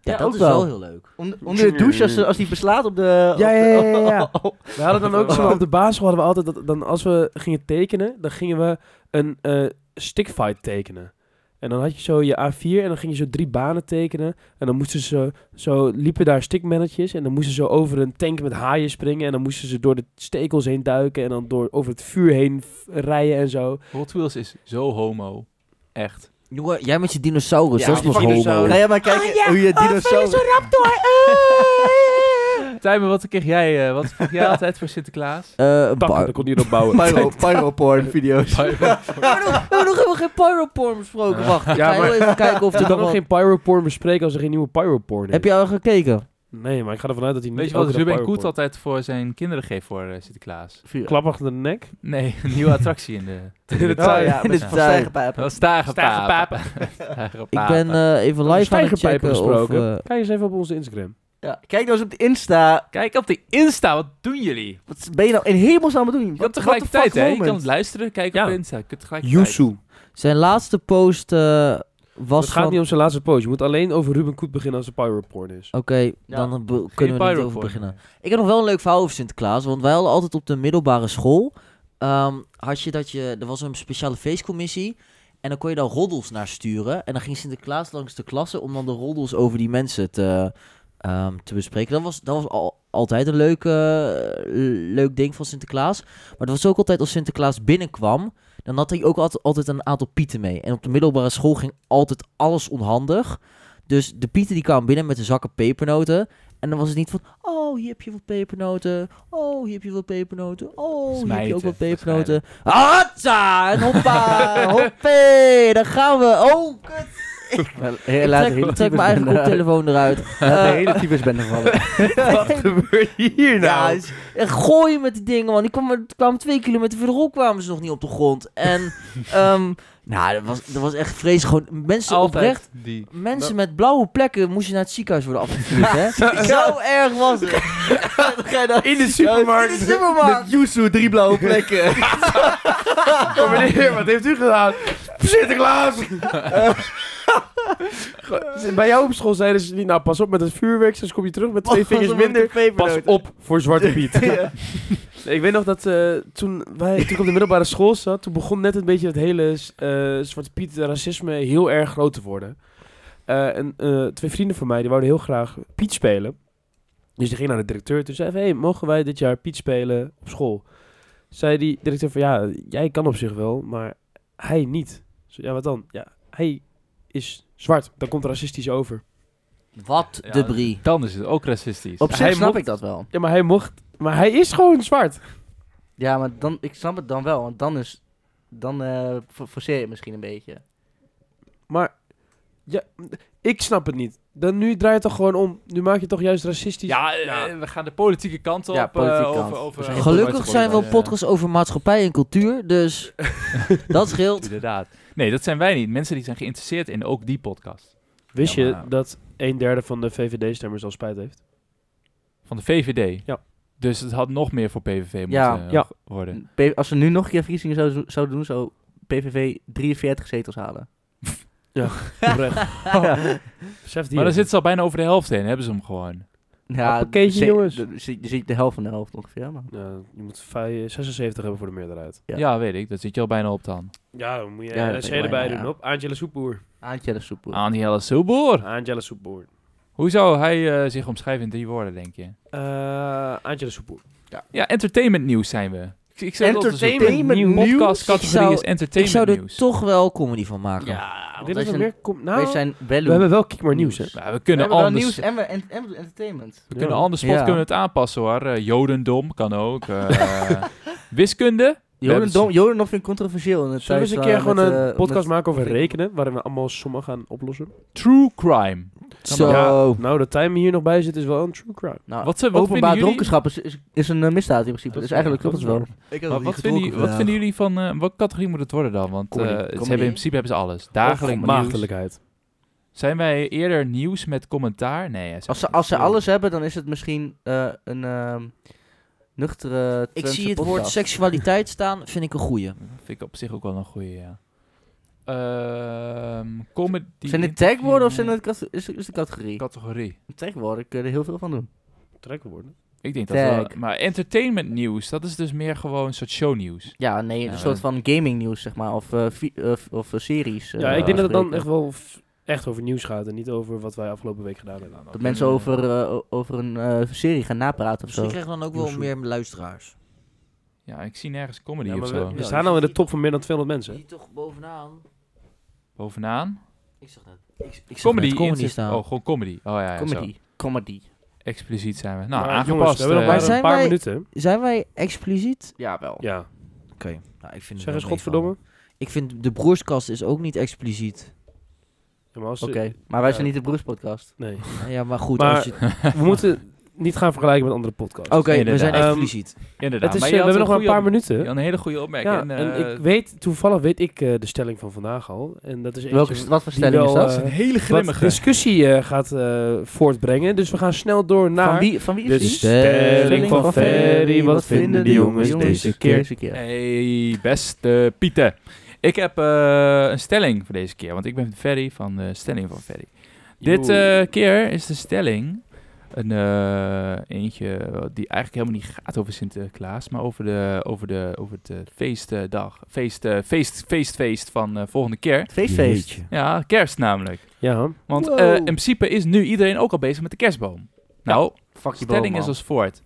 Speaker 2: ja,
Speaker 3: Ja,
Speaker 2: dat
Speaker 3: ook
Speaker 2: is
Speaker 3: wel.
Speaker 2: wel heel leuk.
Speaker 3: Onder, onder de douche, als, ze- als die beslaat op de... op
Speaker 5: Ja, ja, ja,
Speaker 3: de-
Speaker 5: ja, ja. We hadden dan ook
Speaker 4: Oh.
Speaker 5: zo op de basisschool hadden we altijd dat dan als we gingen tekenen, dan gingen we een eh stickfight tekenen. En dan had je zo je A4 en dan ging je zo drie banen tekenen. En dan moesten ze zo, liepen daar stickmannetjes. En dan moesten ze over een tank met haaien springen. En dan moesten ze door de stekels heen duiken. En dan door, over het vuur heen f- rijden en zo.
Speaker 4: Hot Wheels is zo homo. Echt.
Speaker 2: Jongen, jij met je dinosaurus,
Speaker 5: Ja,
Speaker 2: dat is
Speaker 5: die
Speaker 2: nog
Speaker 5: dinosaurus.
Speaker 2: homo.
Speaker 3: Ga
Speaker 5: Nee,
Speaker 3: jij maar
Speaker 2: Ah,
Speaker 3: kijken hoe
Speaker 2: Oh,
Speaker 3: je dinosaurus...
Speaker 4: Tijmen, wat kreeg jij, eh, wat kreeg jij altijd voor Sinterklaas?
Speaker 2: Eh, een
Speaker 5: Takken,
Speaker 2: bar-
Speaker 5: dat kon je erop bouwen.
Speaker 3: Pyro, pyroporn video's.
Speaker 2: We hebben nog helemaal geen pyroporn besproken. Wacht, ik
Speaker 5: Ja,
Speaker 2: ga
Speaker 5: maar-
Speaker 2: heel even kijken of
Speaker 5: Je
Speaker 2: er
Speaker 5: kan nog
Speaker 2: nog wat-
Speaker 5: geen pyroporn bespreken als er geen nieuwe pyroporn is.
Speaker 2: Heb je al gekeken?
Speaker 5: Nee, maar ik ga ervan uit dat hij niet...
Speaker 4: Weet je wat
Speaker 5: elke dag
Speaker 4: Ruben Koet
Speaker 5: pyroporn-
Speaker 4: altijd voor zijn kinderen geeft voor eh, Sinterklaas?
Speaker 5: Klap achter de nek.
Speaker 4: Nee, een nieuwe attractie in de...
Speaker 5: In de
Speaker 3: Oh
Speaker 5: tuin.
Speaker 3: ja, met
Speaker 4: Ja. Oh,
Speaker 3: van stijgenpijpen.
Speaker 4: Dat stagenpapen.
Speaker 2: Ik ben eh, even live aan het
Speaker 5: Stijgerpijpen
Speaker 2: checken of...
Speaker 5: besproken.
Speaker 2: eh,
Speaker 5: Kijk eens even op onze Instagram.
Speaker 3: Ja. Kijk nou eens op de Insta.
Speaker 4: Kijk op de Insta, wat doen jullie?
Speaker 3: Wat ben je nou in hemelsnaam aan het doen?
Speaker 4: Je kan tegelijkertijd, hè? Je kan het luisteren, kijk
Speaker 5: Ja.
Speaker 4: op Insta. Je kunt tegelijkertijd.
Speaker 5: Yusu.
Speaker 2: Zijn laatste post eh, was
Speaker 5: Het gaat
Speaker 2: van...
Speaker 5: niet om zijn laatste post. Je moet alleen over Ruben Koet beginnen als er pyroporn is.
Speaker 2: Oké, dan be-
Speaker 4: Geen
Speaker 2: kunnen we er niet over
Speaker 4: pyroporn.
Speaker 2: beginnen. Ik heb nog wel een leuk verhaal over Sinterklaas. Want wij hadden altijd op de middelbare school... ehm, had je dat je... Er was een speciale feestcommissie. En dan kon je daar roddels naar sturen. En dan ging Sinterklaas langs de klasse... om dan de roddels over die mensen te, ehm, te bespreken. Dat was, dat was al, altijd een leuk, eh, leuk ding van Sinterklaas. Maar dat was ook altijd als Sinterklaas binnenkwam... dan had hij ook altijd, altijd een aantal pieten mee. En op de middelbare school ging altijd alles onhandig... Dus de pieten die kwamen binnen met de zakken pepernoten. En dan was het niet van, oh, hier heb je wat pepernoten. Oh, hier heb je wat pepernoten. Oh, hier heb je ook
Speaker 4: Smijten,
Speaker 2: wat pepernoten. Hatsa! En hoppa! Hoppé! Daar gaan we! Oh, kut! Ik
Speaker 3: Helaas,
Speaker 2: trek, ik trek mijn eigen koptelefoon eruit.
Speaker 3: de
Speaker 2: Eh,
Speaker 3: hele types ben gevallen.
Speaker 2: Wat gebeurt hier nou? en gooien met die dingen, man. Die kwamen, kwamen twee kilometer verderop, kwamen ze nog niet op de grond. En, ehm, nou, dat was, dat was echt vreselijk. Gewoon mensen oprecht
Speaker 4: Altijd die.
Speaker 2: Mensen met blauwe plekken moesten naar het ziekenhuis worden afgevoerd, hè? Zo erg was het. Dan ga je naar-
Speaker 3: In de
Speaker 2: In de supermarkt.
Speaker 3: Met Yuzu, drie blauwe plekken.
Speaker 5: Oh, meneer, wat heeft u gedaan? Sinterklaas! Bij jou op school zeiden ze niet, nou pas op met het vuurwerk, soms kom je terug met twee vingers minder. Pas op voor Zwarte Piet. Nee, ik weet nog dat eh, toen, wij, toen ik op de middelbare school zat, toen begon net een beetje het hele eh, Zwarte Piet racisme heel erg groot te worden. Eh, en eh, twee vrienden van mij, die wouden heel graag Piet spelen. Dus die gingen naar de directeur toen zei van, hey, mogen wij dit jaar Piet spelen op school? Zei die directeur van, ja, jij kan op zich wel, maar hij niet. Ik zei, ja, wat dan? Ja, hij is zwart, dan komt racistisch over.
Speaker 2: Wat
Speaker 4: Ja,
Speaker 2: de brie.
Speaker 4: Dan is het ook racistisch.
Speaker 3: Op zich
Speaker 5: Hij
Speaker 3: snap
Speaker 5: mocht-
Speaker 3: ik dat wel.
Speaker 5: Ja, maar hij mocht, maar hij is gewoon zwart.
Speaker 3: Ja, maar dan, ik snap het dan wel, want dan is... Dan eh, for- forceer je het misschien een beetje.
Speaker 5: Maar ja, ik snap het niet. Dan nu draai je het toch gewoon om. Nu maak je het toch juist racistisch.
Speaker 4: Ja, eh, we gaan de politieke kant op.
Speaker 3: Ja,
Speaker 4: eh,
Speaker 3: politieke
Speaker 4: over,
Speaker 3: kant.
Speaker 4: Over,
Speaker 3: Dus
Speaker 4: over-
Speaker 2: Gelukkig zijn we
Speaker 4: Ja,
Speaker 2: op podcast over maatschappij en cultuur, dus dat scheelt.
Speaker 4: Inderdaad. Nee, dat zijn wij niet. Mensen die zijn geïnteresseerd in ook die podcast.
Speaker 5: Wist
Speaker 4: Ja,
Speaker 5: je
Speaker 4: maar-
Speaker 5: dat een derde van de VVD-stemmers al spijt heeft?
Speaker 4: Van de VVD.
Speaker 5: Ja.
Speaker 4: Dus het had nog meer voor PVV moeten
Speaker 3: Ja.
Speaker 4: eh,
Speaker 5: Ja.
Speaker 4: worden.
Speaker 3: P- Als ze nu nog een keer verkiezingen zouden zouden doen, zou PVV 43 zetels halen.
Speaker 5: Oprecht. Besef die
Speaker 4: Maar dan
Speaker 5: even.
Speaker 4: zitten ze al bijna over de helft heen. Hebben ze hem gewoon.
Speaker 3: Ja,
Speaker 5: Appakeetje,
Speaker 3: ze-
Speaker 5: jongens.
Speaker 3: d- zie- Je ziet de helft van de helft ongeveer, maar...
Speaker 5: Ja, je moet vij- 76 hebben voor de meerderheid.
Speaker 4: Ja,
Speaker 3: Ja.
Speaker 4: weet ik. Dat zit je al bijna op dan.
Speaker 5: Ja, dan moet je
Speaker 3: Ja, dat
Speaker 5: NSC
Speaker 3: weet ik
Speaker 5: erbij
Speaker 3: wel,
Speaker 5: doen.
Speaker 3: ja.
Speaker 5: Op Angela Soepboer.
Speaker 3: Aantje de soep.
Speaker 4: Aan die hele soepboer.
Speaker 5: Angela Soepboer.
Speaker 4: Hoe zou hij eh, zich omschrijven in drie woorden, denk je?
Speaker 5: Eh Angela Soepboer.
Speaker 4: Ja, entertainment nieuws zijn we. ik zou het altijd zoeken.
Speaker 3: Entertainment nieuws?
Speaker 4: Podcast categorie is
Speaker 2: zou- Ik zou
Speaker 4: entertainment
Speaker 2: er
Speaker 4: nieuws.
Speaker 2: toch wel comedy van maken.
Speaker 3: Ja,
Speaker 5: Dit
Speaker 3: want wij
Speaker 5: is wel
Speaker 3: zijn,
Speaker 5: weer... Kom,
Speaker 3: wij
Speaker 5: nou,
Speaker 3: zijn wel
Speaker 5: we hebben wel Kiek maar nieuws, hè.
Speaker 3: Nieuws.
Speaker 4: Maar we
Speaker 3: Oh. we
Speaker 4: kunnen
Speaker 3: hebben wel
Speaker 4: anders.
Speaker 3: nieuws en we, en, en we doen entertainment.
Speaker 4: We kunnen
Speaker 5: Ja.
Speaker 4: anders spot
Speaker 3: Ja.
Speaker 4: kunnen we het aanpassen hoor. Eh, jodendom kan ook. eh, wiskunde.
Speaker 3: Jodendom, Jodendom vind ik controversieel. In het
Speaker 5: Zullen we eens een keer
Speaker 3: thuis, eh,
Speaker 5: gewoon
Speaker 3: met,
Speaker 5: een
Speaker 3: eh,
Speaker 5: podcast
Speaker 3: met-
Speaker 5: maken over
Speaker 3: met-
Speaker 5: rekenen, waarin we allemaal sommen gaan oplossen?
Speaker 4: True crime.
Speaker 2: Zo.
Speaker 5: Ja, nou, dat timer hier nog bij zit is wel een true crime.
Speaker 3: Nou,
Speaker 4: Wat ze- wat vinden
Speaker 3: openbaar
Speaker 4: jullie-
Speaker 3: dronkenschap is, is, is een eh, misdaad in principe.
Speaker 5: Dat
Speaker 3: dus
Speaker 5: is-
Speaker 3: eigenlijk
Speaker 5: dat
Speaker 3: klopt het
Speaker 5: is
Speaker 3: wel.
Speaker 4: Maar wat, vinden, jullie- wat vinden jullie van... eh, welke categorie moet het worden dan? Want eh,
Speaker 3: Comedy.
Speaker 4: ze
Speaker 3: Comedy.
Speaker 4: hebben in principe hebben ze alles. Dagelijks nieuws.
Speaker 5: Maagdelijkheid.
Speaker 4: Zijn wij eerder nieuws met commentaar? Nee. ja,
Speaker 3: Als ze, als ze alles hebben, dan is het misschien eh, een ehm, nuchtere
Speaker 2: Ik
Speaker 3: Twentse
Speaker 2: zie het
Speaker 3: podcast.
Speaker 2: woord seksualiteit staan, vind ik een goeie.
Speaker 4: Vind ik op zich ook wel een goeie, ja. Ehm comedy...
Speaker 3: Zijn dit tagwoorden of zijn
Speaker 4: Nee,
Speaker 3: het kat- is, is de categorie?
Speaker 4: Categorie.
Speaker 3: Tagwoorden kunnen er heel veel van doen.
Speaker 5: Trekwoorden.
Speaker 4: Ik denk dat wel...
Speaker 3: Tag.
Speaker 4: Maar entertainment nieuws, dat is dus meer gewoon een soort shownieuws.
Speaker 3: Ja, nee,
Speaker 4: Ja,
Speaker 3: een soort van gaming nieuws, zeg maar. Of, eh, fi- eh, f- of eh, series. eh,
Speaker 5: Ja, ik denk dat het dan
Speaker 3: afspreken.
Speaker 5: echt wel f- echt over nieuws gaat en niet over wat wij afgelopen week gedaan hebben.
Speaker 3: Dat mensen over, eh, o- over een eh, serie gaan napraten of
Speaker 2: Misschien
Speaker 3: zo.
Speaker 2: krijgen we dan ook wel
Speaker 5: Nieuwshoek.
Speaker 2: meer luisteraars.
Speaker 4: Ja, ik zie nergens comedy
Speaker 5: Ja, dus
Speaker 4: of
Speaker 5: maar we,
Speaker 4: zo.
Speaker 5: we staan al in de top van meer dan 200 mensen. hè?
Speaker 2: Die toch bovenaan.
Speaker 4: Bovenaan.
Speaker 2: Ik zag net. Ik, ik zag
Speaker 4: Comedy.
Speaker 2: net comedy
Speaker 4: inter-
Speaker 2: staan.
Speaker 4: Oh, gewoon comedy. Oh ja, ja Zo.
Speaker 3: Comedy. Comedy.
Speaker 4: Expliciet zijn we. Nou,
Speaker 5: Maar
Speaker 4: aangepast.
Speaker 5: Jongens, we hebben nog
Speaker 4: eh, Oh,
Speaker 5: maar
Speaker 2: zijn
Speaker 5: een paar
Speaker 2: wij-
Speaker 5: minuten.
Speaker 2: Zijn wij expliciet?
Speaker 3: Ja, wel.
Speaker 5: Ja,
Speaker 2: Oké. Nou, ik vind het
Speaker 5: zeg eens
Speaker 2: wel
Speaker 5: godverdomme.
Speaker 2: meevallen. Ik vind de broerskast is ook niet expliciet.
Speaker 5: Ja, maar als
Speaker 3: Oké,
Speaker 5: de-
Speaker 3: maar wij
Speaker 5: Ja.
Speaker 3: zijn niet de broerspodcast.
Speaker 5: Nee.
Speaker 2: Nou Ja, maar goed.
Speaker 5: Maar-
Speaker 2: als je- Oké,
Speaker 5: We moeten niet gaan vergelijken met andere podcasts.
Speaker 2: we
Speaker 4: Inderdaad.
Speaker 2: zijn
Speaker 5: Ehm,
Speaker 2: expliciet.
Speaker 4: Inderdaad.
Speaker 5: Het is,
Speaker 4: Maar
Speaker 5: eh,
Speaker 4: je
Speaker 5: we
Speaker 4: had
Speaker 5: hebben nog maar een paar
Speaker 4: goede op-
Speaker 5: minuten.
Speaker 4: Een hele goede opmerking.
Speaker 5: Ja,
Speaker 4: en,
Speaker 5: en
Speaker 4: eh,
Speaker 5: ik weet, toevallig weet ik eh, de stelling van vandaag al. En dat is
Speaker 3: Welke,
Speaker 5: eentje
Speaker 3: wat voor
Speaker 5: die
Speaker 3: stelling is
Speaker 5: wel,
Speaker 3: dat?
Speaker 5: eh,
Speaker 4: een hele
Speaker 5: wat
Speaker 4: grimmige.
Speaker 5: discussie eh, gaat eh, voortbrengen. Dus we gaan snel door naar...
Speaker 3: van, wie, van wie
Speaker 5: de
Speaker 3: is die?
Speaker 5: Dus stelling van Ferry. Wat vinden de jongens deze keer?
Speaker 4: Hey, beste Pieter. Ik heb eh, een stelling voor deze keer, want ik ben Ferry van de stelling van Ferry. Dit eh, keer is de stelling een eh, eentje die eigenlijk helemaal niet gaat over Sinterklaas, maar over, de, over, de, over het eh, feestdag, feest, eh, feest, feestfeest van eh, volgende keer.
Speaker 3: Feestfeest.
Speaker 4: Ja, kerst namelijk.
Speaker 5: Ja,
Speaker 4: Want
Speaker 3: Wow.
Speaker 4: eh, in principe is nu iedereen ook al bezig met de kerstboom. Nou,
Speaker 3: Fuck je boom,
Speaker 4: stelling
Speaker 3: man.
Speaker 4: is als voort.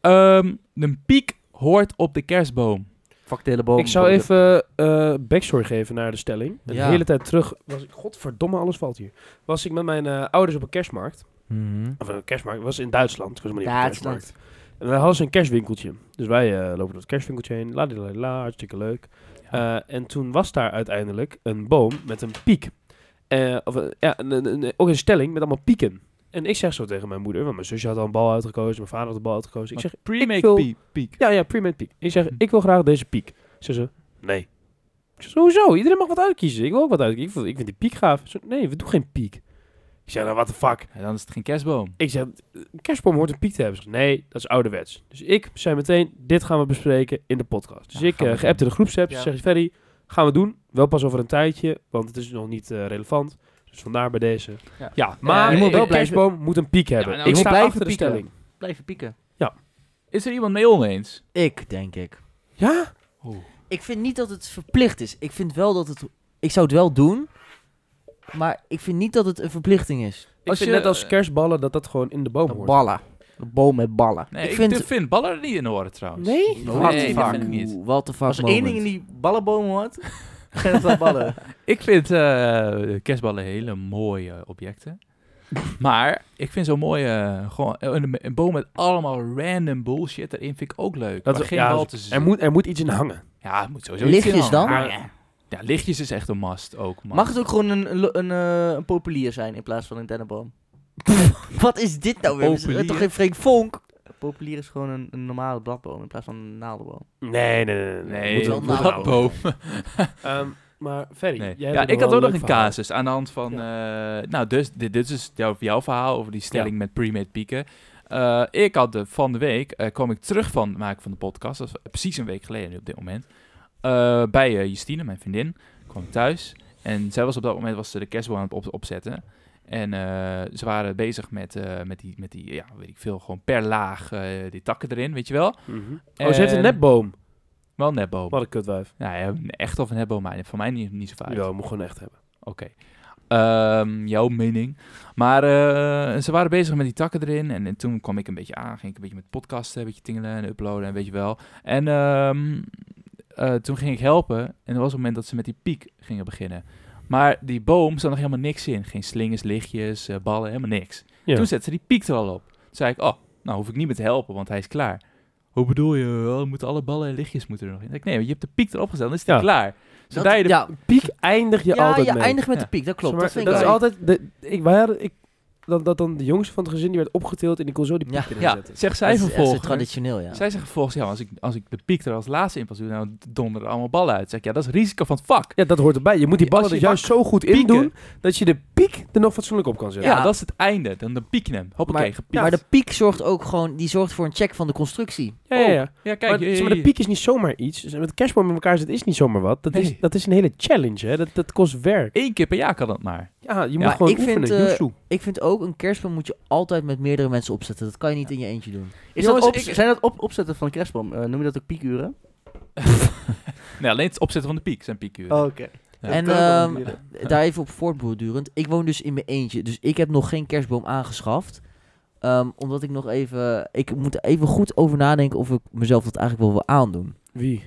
Speaker 4: Ehm, een piek hoort op de kerstboom.
Speaker 3: Fuck de hele boom.
Speaker 5: ik zou even eh backstory geven naar de stelling. De
Speaker 2: Ja.
Speaker 5: hele tijd terug was ik... Godverdomme, alles valt hier. Was ik met mijn eh, ouders op een kerstmarkt.
Speaker 2: Mhm.
Speaker 5: Of een kerstmarkt, was in Duitsland. Ik was maar niet op een kerstmarkt.
Speaker 3: Duitsland.
Speaker 5: En daar hadden ze een kerstwinkeltje. Dus wij eh, lopen door het kerstwinkeltje heen. La, la, la, hartstikke leuk. Eh, en toen was daar uiteindelijk een boom met een piek. Eh, of, eh, ja, een, een- een- ook een stelling met allemaal pieken. En ik zeg zo tegen mijn moeder, want mijn zusje had al een bal uitgekozen, mijn vader had de bal uitgekozen. Ik zeg, ik wil-
Speaker 4: pre-make pie- piek. Hm.
Speaker 5: ja, ja, pre piek. Ik zeg, ik wil graag deze piek. Ze ze, nee. Ik zeg, hoezo? Iedereen mag wat uitkiezen. Ik wil ook wat uitkiezen. Ik vind, ik vind die piek gaaf. Ze, nee, we doen geen piek. Ik zeg, nou, what the fuck?
Speaker 4: Ja, dan is het geen kerstboom.
Speaker 5: Ik zei, een kerstboom hoort een piek te hebben. Ze zei, nee, dat is ouderwets. Dus ik zei meteen, dit gaan we bespreken in de podcast. Dus
Speaker 4: Ja,
Speaker 5: ik
Speaker 4: gaan we
Speaker 5: eh geappte
Speaker 4: doen.
Speaker 5: de groepsapp.
Speaker 3: Ja.
Speaker 5: Ze zegt, Ferry, gaan we doen. Wel pas over een tijdje, want het is nog niet eh, relevant. Dus vandaar bij deze.
Speaker 3: Ja.
Speaker 5: maar
Speaker 4: je
Speaker 5: een
Speaker 4: moet wel blijven-
Speaker 5: kerstboom moet een piek hebben.
Speaker 4: nou, je
Speaker 5: ik
Speaker 4: moet
Speaker 5: sta
Speaker 3: blijven
Speaker 5: achter de
Speaker 3: pieken.
Speaker 5: stelling.
Speaker 3: Blijven pieken.
Speaker 4: Is er iemand mee oneens?
Speaker 2: Ik, denk ik.
Speaker 5: Ja?
Speaker 2: Oh. Ik vind niet dat het verplicht is. Ik vind wel dat het... Ik zou het wel doen, maar ik vind niet dat het een verplichting is.
Speaker 5: Ik
Speaker 4: Als
Speaker 5: vind
Speaker 4: je-
Speaker 5: net als kerstballen dat dat gewoon in de boom hoort.
Speaker 3: Ballen. Een boom met ballen.
Speaker 4: Nee,
Speaker 2: Ik
Speaker 4: ik,
Speaker 2: vind-
Speaker 4: vind... vind ballen er niet in horen
Speaker 2: Oh,
Speaker 4: trouwens.
Speaker 5: Nee?
Speaker 3: What the
Speaker 4: nee, dat vind
Speaker 3: fuck.
Speaker 4: ik niet.
Speaker 2: What the fuck
Speaker 3: Als er één ding
Speaker 2: moment.
Speaker 3: in die ballenboom hoort, zijn het wel ballen.
Speaker 4: Ik vind eh, kerstballen hele mooie objecten. maar ik vind zo'n mooie, eh, gewoon een, een boom met allemaal random bullshit erin vind ik ook leuk.
Speaker 5: Dat
Speaker 4: Dat
Speaker 5: is-
Speaker 4: geen
Speaker 5: ja,
Speaker 4: bal
Speaker 5: dat
Speaker 4: tussen
Speaker 5: Er
Speaker 4: zit.
Speaker 5: moet, er moet iets in hangen.
Speaker 4: Ja, het moet sowieso iets in
Speaker 2: Lichtjes dan?
Speaker 4: hangen. Ja, lichtjes is echt een must ook. Man.
Speaker 3: Mag het ook gewoon een, een, lo- een, eh, een populier zijn in plaats van een dennenboom?
Speaker 2: Wat is dit nou weer? We
Speaker 4: Populier.
Speaker 2: zijn toch geen Freek Vonk?
Speaker 3: Een populier is gewoon een, een normale bladboom in plaats van een naaldenboom.
Speaker 5: Nee, nee, nee. nee.
Speaker 4: Nee,
Speaker 2: Moet wel
Speaker 4: dat
Speaker 2: nou.
Speaker 4: boom.
Speaker 5: Ehm, maar Ferry,
Speaker 4: Nee.
Speaker 5: jij
Speaker 4: Ja,
Speaker 5: hebt
Speaker 4: ik had
Speaker 5: wel
Speaker 4: ook nog een
Speaker 5: leuk verhaal.
Speaker 4: casus aan de hand van... eh, nou, dus, dit, dit is dus jouw, jouw verhaal over die stelling met pre-made pieken. Eh, ik had de, van de week, eh, kwam ik terug van het maken van de podcast. Dat is precies een week geleden nu op dit moment. Eh, bij eh, Justine, mijn vriendin, kwam ik thuis. En zij was op dat moment was ze de kerstboom aan het op- opzetten. En eh, ze waren bezig met, eh, met die, met die ja, weet ik veel, gewoon per laag eh, die takken erin, weet je wel.
Speaker 5: Mhm. Oh, ze heeft een
Speaker 4: En-
Speaker 5: nepboom.
Speaker 4: Wel netboom.
Speaker 5: Wat een kutwijf.
Speaker 4: Nou ja, een echt of een netboom, maar voor mij niet, niet zo vaak.
Speaker 5: Ja, moet gewoon echt hebben.
Speaker 4: Oké. Ehm, jouw mening. Maar eh, ze waren bezig met die takken erin. En, en toen kwam ik een beetje aan. Ging ik een beetje met podcasten, een beetje tingelen en uploaden en weet je wel. En ehm, eh, toen ging ik helpen. En er was een moment dat ze met die piek gingen beginnen. Maar die boom zat nog helemaal niks in. Geen slingers, lichtjes, eh, ballen, helemaal niks.
Speaker 5: Ja.
Speaker 4: Toen zette ze die piek er al op. Toen zei ik, oh, nou hoef ik niet meer te helpen, want hij is klaar. Hoe bedoel je? Oh, moeten alle ballen en lichtjes moeten er nog in? Ik, nee, je hebt de piek erop gezet, dan is hij
Speaker 5: Ja.
Speaker 4: klaar.
Speaker 2: Dat-
Speaker 4: Zodra je de
Speaker 2: ja,
Speaker 5: Piek eindig je
Speaker 2: ja,
Speaker 5: altijd
Speaker 2: je
Speaker 5: mee.
Speaker 2: eindigt met
Speaker 4: Ja.
Speaker 2: de piek, dat klopt.
Speaker 5: Zeg maar,
Speaker 2: dat vind
Speaker 5: dat
Speaker 2: ik
Speaker 5: is
Speaker 2: wel-
Speaker 5: altijd... De, ik, waar, ik, dat, dat dan de jongste van het gezin, die werd opgetild en die kon zo die piek
Speaker 2: Ja.
Speaker 5: erin
Speaker 4: Ja,
Speaker 5: zetten.
Speaker 4: zegt
Speaker 2: dat
Speaker 4: zij
Speaker 2: is echt zo
Speaker 4: vervolgens.
Speaker 2: traditioneel, ja.
Speaker 4: Zij zegt vervolgens, ja, als ik, als ik de piek er als laatste in pas doe, nou donderen er allemaal ballen uit. Zeg ik, ja, dat is risico van het vak.
Speaker 5: Ja, dat hoort erbij. Je moet die
Speaker 4: Als
Speaker 5: ballen
Speaker 4: je
Speaker 5: er juist zo goed in
Speaker 4: pieken-
Speaker 5: doen, dat je de piek er nog fatsoenlijk op kan
Speaker 4: Ja,
Speaker 5: zetten.
Speaker 4: dat is het einde. Dan, dan piek je hem. Hoppakee,
Speaker 5: Maar-
Speaker 4: gepiekt.
Speaker 2: Maar de piek zorgt ook gewoon, die zorgt voor een check van de constructie.
Speaker 5: ja, ja. ja.
Speaker 4: ja, kijk,
Speaker 5: Maar,
Speaker 4: eh,
Speaker 5: zeg maar, de piek is niet zomaar iets. Dus Met kerstboom met elkaar zitten is niet zomaar wat. Dat,
Speaker 4: Nee.
Speaker 5: is, dat is een hele challenge, hè. Dat, dat kost werk.
Speaker 4: één keer per jaar kan dat maar.
Speaker 5: Ja, je moet
Speaker 2: maar
Speaker 5: gewoon
Speaker 2: ik vind,
Speaker 5: oefenen.
Speaker 2: eh,
Speaker 5: Yuzu.
Speaker 2: Ik vind ook, een kerstboom moet je altijd met meerdere mensen opzetten. Dat kan je niet in je eentje doen.
Speaker 3: Is
Speaker 4: Jongens,
Speaker 3: dat op,
Speaker 4: ik-
Speaker 3: zijn dat op, opzetten van een kerstboom? Eh, noem je dat ook piekuren?
Speaker 4: Nee, alleen het opzetten van de piek zijn piekuren.
Speaker 3: Oké.
Speaker 4: Ja.
Speaker 2: en
Speaker 3: kan ook wel
Speaker 2: ehm,
Speaker 3: duren.
Speaker 2: daar even op voortbordurend. Ik woon dus in mijn eentje. Dus ik heb nog geen kerstboom aangeschaft. Ehm, omdat ik nog even... Ik moet er even goed over nadenken of ik mezelf dat eigenlijk wel wil aandoen.
Speaker 5: Wie?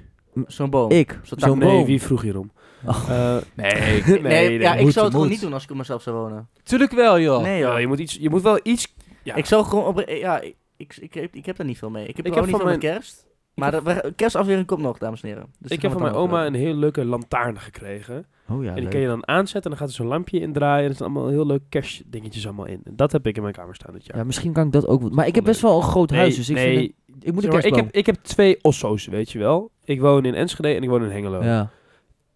Speaker 3: Zo'n boom.
Speaker 2: Ik.
Speaker 3: Zo'n
Speaker 2: Zo'n
Speaker 5: nee,
Speaker 2: boom.
Speaker 5: wie vroeg hierom?
Speaker 2: Oh.
Speaker 5: Eh,
Speaker 4: Nee,
Speaker 5: nee,
Speaker 3: Nee,
Speaker 5: nee,
Speaker 3: ja, ik
Speaker 5: moet,
Speaker 3: zou het gewoon
Speaker 5: moet.
Speaker 3: niet doen als ik op mezelf zou wonen.
Speaker 4: tuurlijk wel, joh.
Speaker 3: Nee,
Speaker 5: Ja,
Speaker 3: joh.
Speaker 5: je, moet iets, je moet wel iets... Ja.
Speaker 3: Ik zou gewoon... Op, eh, ja, ik, ik, ik, heb- ik heb daar niet veel mee. Ik heb
Speaker 5: Ik
Speaker 3: er
Speaker 5: heb
Speaker 3: ook niet
Speaker 5: van
Speaker 3: veel met kerst. Maar de, we- kerstaflevering komt nog, dames en heren. Dus
Speaker 5: ik heb van mijn oma een heel leuke lantaarn gekregen.
Speaker 2: Oh ja,
Speaker 5: en die
Speaker 2: leuk.
Speaker 5: kan je dan aanzetten en dan gaat er zo'n lampje in draaien. En er staan allemaal heel leuke kerstdingetjes allemaal in. En dat heb ik in mijn kamer staan dit jaar.
Speaker 2: Ja, misschien kan ik dat ook... wel- Maar ik heb best wel een groot huis, dus ik,
Speaker 5: nee,
Speaker 2: vind het- ik moet
Speaker 5: zeg
Speaker 2: een
Speaker 5: maar, ik,
Speaker 2: kerstboom.
Speaker 5: heb, ik heb twee osso's, weet je wel. Ik woon in Enschede en ik woon in Hengelo.
Speaker 2: ja.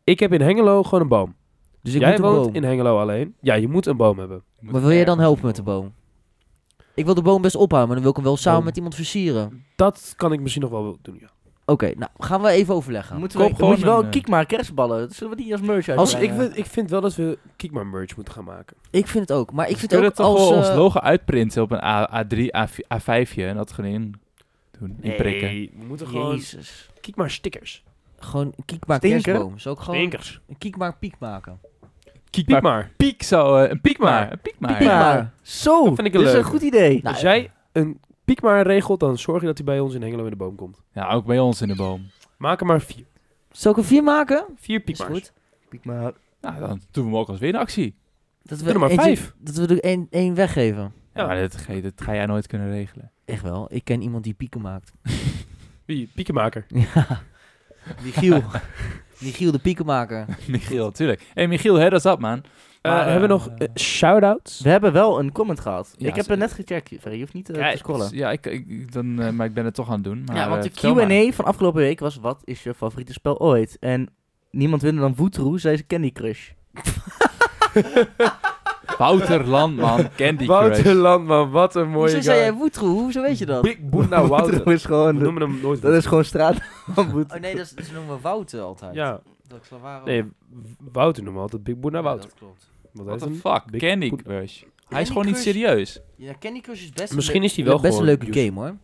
Speaker 5: Ik heb in Hengelo gewoon een boom.
Speaker 2: Dus ik
Speaker 5: Jij
Speaker 2: moet een
Speaker 5: woont
Speaker 2: boom.
Speaker 5: in Hengelo alleen. Ja, je moet een boom hebben.
Speaker 2: Maar wil jij dan helpen met de boom? Ik wil de boom best ophouden, maar dan wil ik hem wel samen met iemand versieren.
Speaker 5: Dat kan ik misschien nog wel doen, ja.
Speaker 2: Oké, nou gaan we even overleggen.
Speaker 3: Moeten
Speaker 4: Koop
Speaker 3: we, dan moet je
Speaker 4: gewoon
Speaker 3: wel
Speaker 4: een,
Speaker 3: een eh, kiek maar kerstballen. Zullen we die als merch
Speaker 2: Als
Speaker 5: Dus
Speaker 3: uitbrengen?
Speaker 5: ik, vind, ik vind wel dat we Kiekma merch moeten gaan maken.
Speaker 2: Ik vind het ook, maar ik vind
Speaker 4: we
Speaker 2: het
Speaker 4: kunnen
Speaker 2: ook
Speaker 4: toch
Speaker 2: als...
Speaker 4: wel ons
Speaker 2: eh,
Speaker 4: logo uitprinten op een A, A3, A, 5 je en dat gewoon in doen, inprikken.
Speaker 5: we moeten gewoon
Speaker 3: Jezus.
Speaker 5: Kiekma stickers.
Speaker 2: Gewoon een kiekmaak
Speaker 3: Stinken?
Speaker 2: kerstboom. Zou ik gewoon
Speaker 5: Stinkers.
Speaker 2: een kiekmaak piek maken?
Speaker 4: Kiek maar.
Speaker 5: Kiekma.
Speaker 4: Piek zo, eh, een piek
Speaker 5: maar.
Speaker 4: maar. Een piek maar.
Speaker 2: Piek maar.
Speaker 3: Zo,
Speaker 5: Dat vind ik een
Speaker 3: dit is een
Speaker 5: leuke.
Speaker 3: goed idee. Dus
Speaker 2: Nou,
Speaker 5: Als jij een Piekma regelt, dan zorg je dat hij bij ons in Hengelo in de boom komt.
Speaker 4: Ja, ook bij ons in de boom.
Speaker 5: Maak er maar vier.
Speaker 2: Zal ik er vier maken?
Speaker 5: Vier
Speaker 2: Is
Speaker 5: Piekma's.
Speaker 2: goed.
Speaker 3: Piek maar.
Speaker 4: Nou, dan doen we hem ook als winactie.
Speaker 2: Dat
Speaker 5: Doe er maar
Speaker 2: eentje-
Speaker 5: vijf.
Speaker 2: Dat we er één- één weggeven.
Speaker 4: Ja,
Speaker 5: Ja.
Speaker 4: maar dat, ga je- dat ga jij nooit kunnen regelen.
Speaker 2: Echt wel, ik ken iemand die pieken maakt.
Speaker 5: Wie? Piekenmaker.
Speaker 2: ja, Michiel. Michiel de piekenmaker.
Speaker 4: Michiel, tuurlijk. Hé, hey, Michiel, hè, dat is dat, man.
Speaker 5: Eh,
Speaker 4: Maar,
Speaker 5: hebben we nog
Speaker 4: eh,
Speaker 5: eh, shout-outs?
Speaker 3: We hebben wel een comment gehad.
Speaker 4: Ja,
Speaker 3: ik heb
Speaker 4: ze-
Speaker 3: het net gecheckt, Ferry. Je hoeft niet eh, te scrollen.
Speaker 4: Ja, ik, ik, dan, eh, maar ik ben het toch aan het doen. Maar,
Speaker 3: ja, want
Speaker 4: eh,
Speaker 3: de
Speaker 4: vertel maar.
Speaker 3: Q&A van afgelopen week was... Wat is je favoriete spel ooit? En niemand winde dan Woetroe, zei ze Candy Crush.
Speaker 4: Wouter Landman, Candy Crush.
Speaker 5: Landman, wat een
Speaker 2: Hoezo zei jij Woetroe? Hoezo weet je dat?
Speaker 5: Big Boona Wouter.
Speaker 3: is gewoon...
Speaker 5: We noemen hem nooit
Speaker 3: dat is gewoon straat van
Speaker 2: Oh nee, dat, is, dat noemen we Wouter altijd.
Speaker 5: Ja,
Speaker 2: Dat is wel waar.
Speaker 5: nee, W- Wouter noemen we altijd Big Boona
Speaker 2: Ja,
Speaker 5: Wouter.
Speaker 2: dat klopt.
Speaker 5: Want hij
Speaker 4: What
Speaker 5: is
Speaker 4: the
Speaker 5: een-
Speaker 4: fuck,
Speaker 5: Big
Speaker 4: Candy
Speaker 5: Poet-
Speaker 4: Crush. Hij is
Speaker 2: Candy
Speaker 4: gewoon niet
Speaker 2: Crush?
Speaker 4: serieus.
Speaker 2: Ja, Candy Crush is best
Speaker 5: Misschien is hij
Speaker 2: een, le-
Speaker 5: wel
Speaker 2: best een
Speaker 5: gewoon
Speaker 2: leuke
Speaker 5: used.
Speaker 2: game hoor.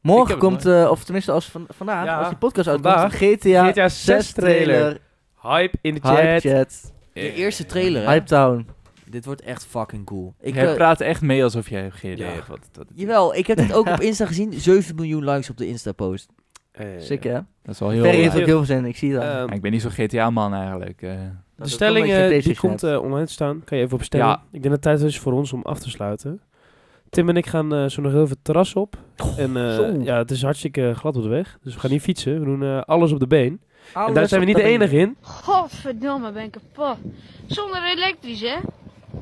Speaker 4: Ik
Speaker 3: Morgen
Speaker 4: heb het
Speaker 3: komt, eh, of tenminste als van, vandaag,
Speaker 5: Ja,
Speaker 3: als die podcast uitkomt,
Speaker 5: vandaag.
Speaker 3: GTA,
Speaker 5: GTA 6 trailer. Hype in de
Speaker 3: Hype
Speaker 5: chat.
Speaker 3: Chat,
Speaker 2: De
Speaker 4: Eh,
Speaker 2: eerste trailer hè?
Speaker 3: Hype Town.
Speaker 2: Dit wordt echt fucking cool. Ik,
Speaker 4: Jij
Speaker 2: eh,
Speaker 4: praat echt mee alsof jij geen idee
Speaker 5: Ja.
Speaker 4: hebt wat dat is.
Speaker 2: Jawel, ik heb dit ook op Insta gezien. 7 miljoen likes op de Insta-post.
Speaker 5: Eh,
Speaker 3: Sick hè?
Speaker 4: Dat is wel heel...
Speaker 3: Ferry heeft
Speaker 5: leuk.
Speaker 3: ook heel veel zin, ik zie dat.
Speaker 5: ehm,
Speaker 4: Ja, ik ben niet zo'n GTA-man eigenlijk. eh.
Speaker 5: de stelling eh, die komt eh, online te staan. Kan je even op stemmen.
Speaker 4: Ja.
Speaker 5: Ik denk dat het tijd is voor ons om af te sluiten. Tim en ik gaan eh, zo nog heel veel het terras op. en eh,
Speaker 3: zo.
Speaker 5: ja, het is hartstikke glad op de weg. Dus we gaan niet fietsen. We doen eh, alles op de been. en daar zijn we niet de enige in.
Speaker 8: Godverdomme, ben ik kapot. Zonder elektrisch, hè?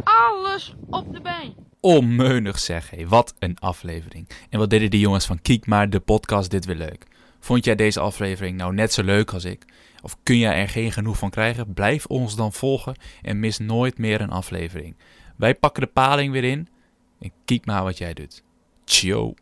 Speaker 8: Alles op de been.
Speaker 4: Onmeunig zeg, hé. Wat een aflevering. En wat deden die jongens van Kiek maar de podcast dit weer leuk. Vond jij deze aflevering nou net zo leuk als ik? Of kun jij er geen genoeg van krijgen? Blijf ons dan volgen en mis nooit meer een aflevering. Wij pakken de paling weer in en kiek maar wat jij doet. Ciao.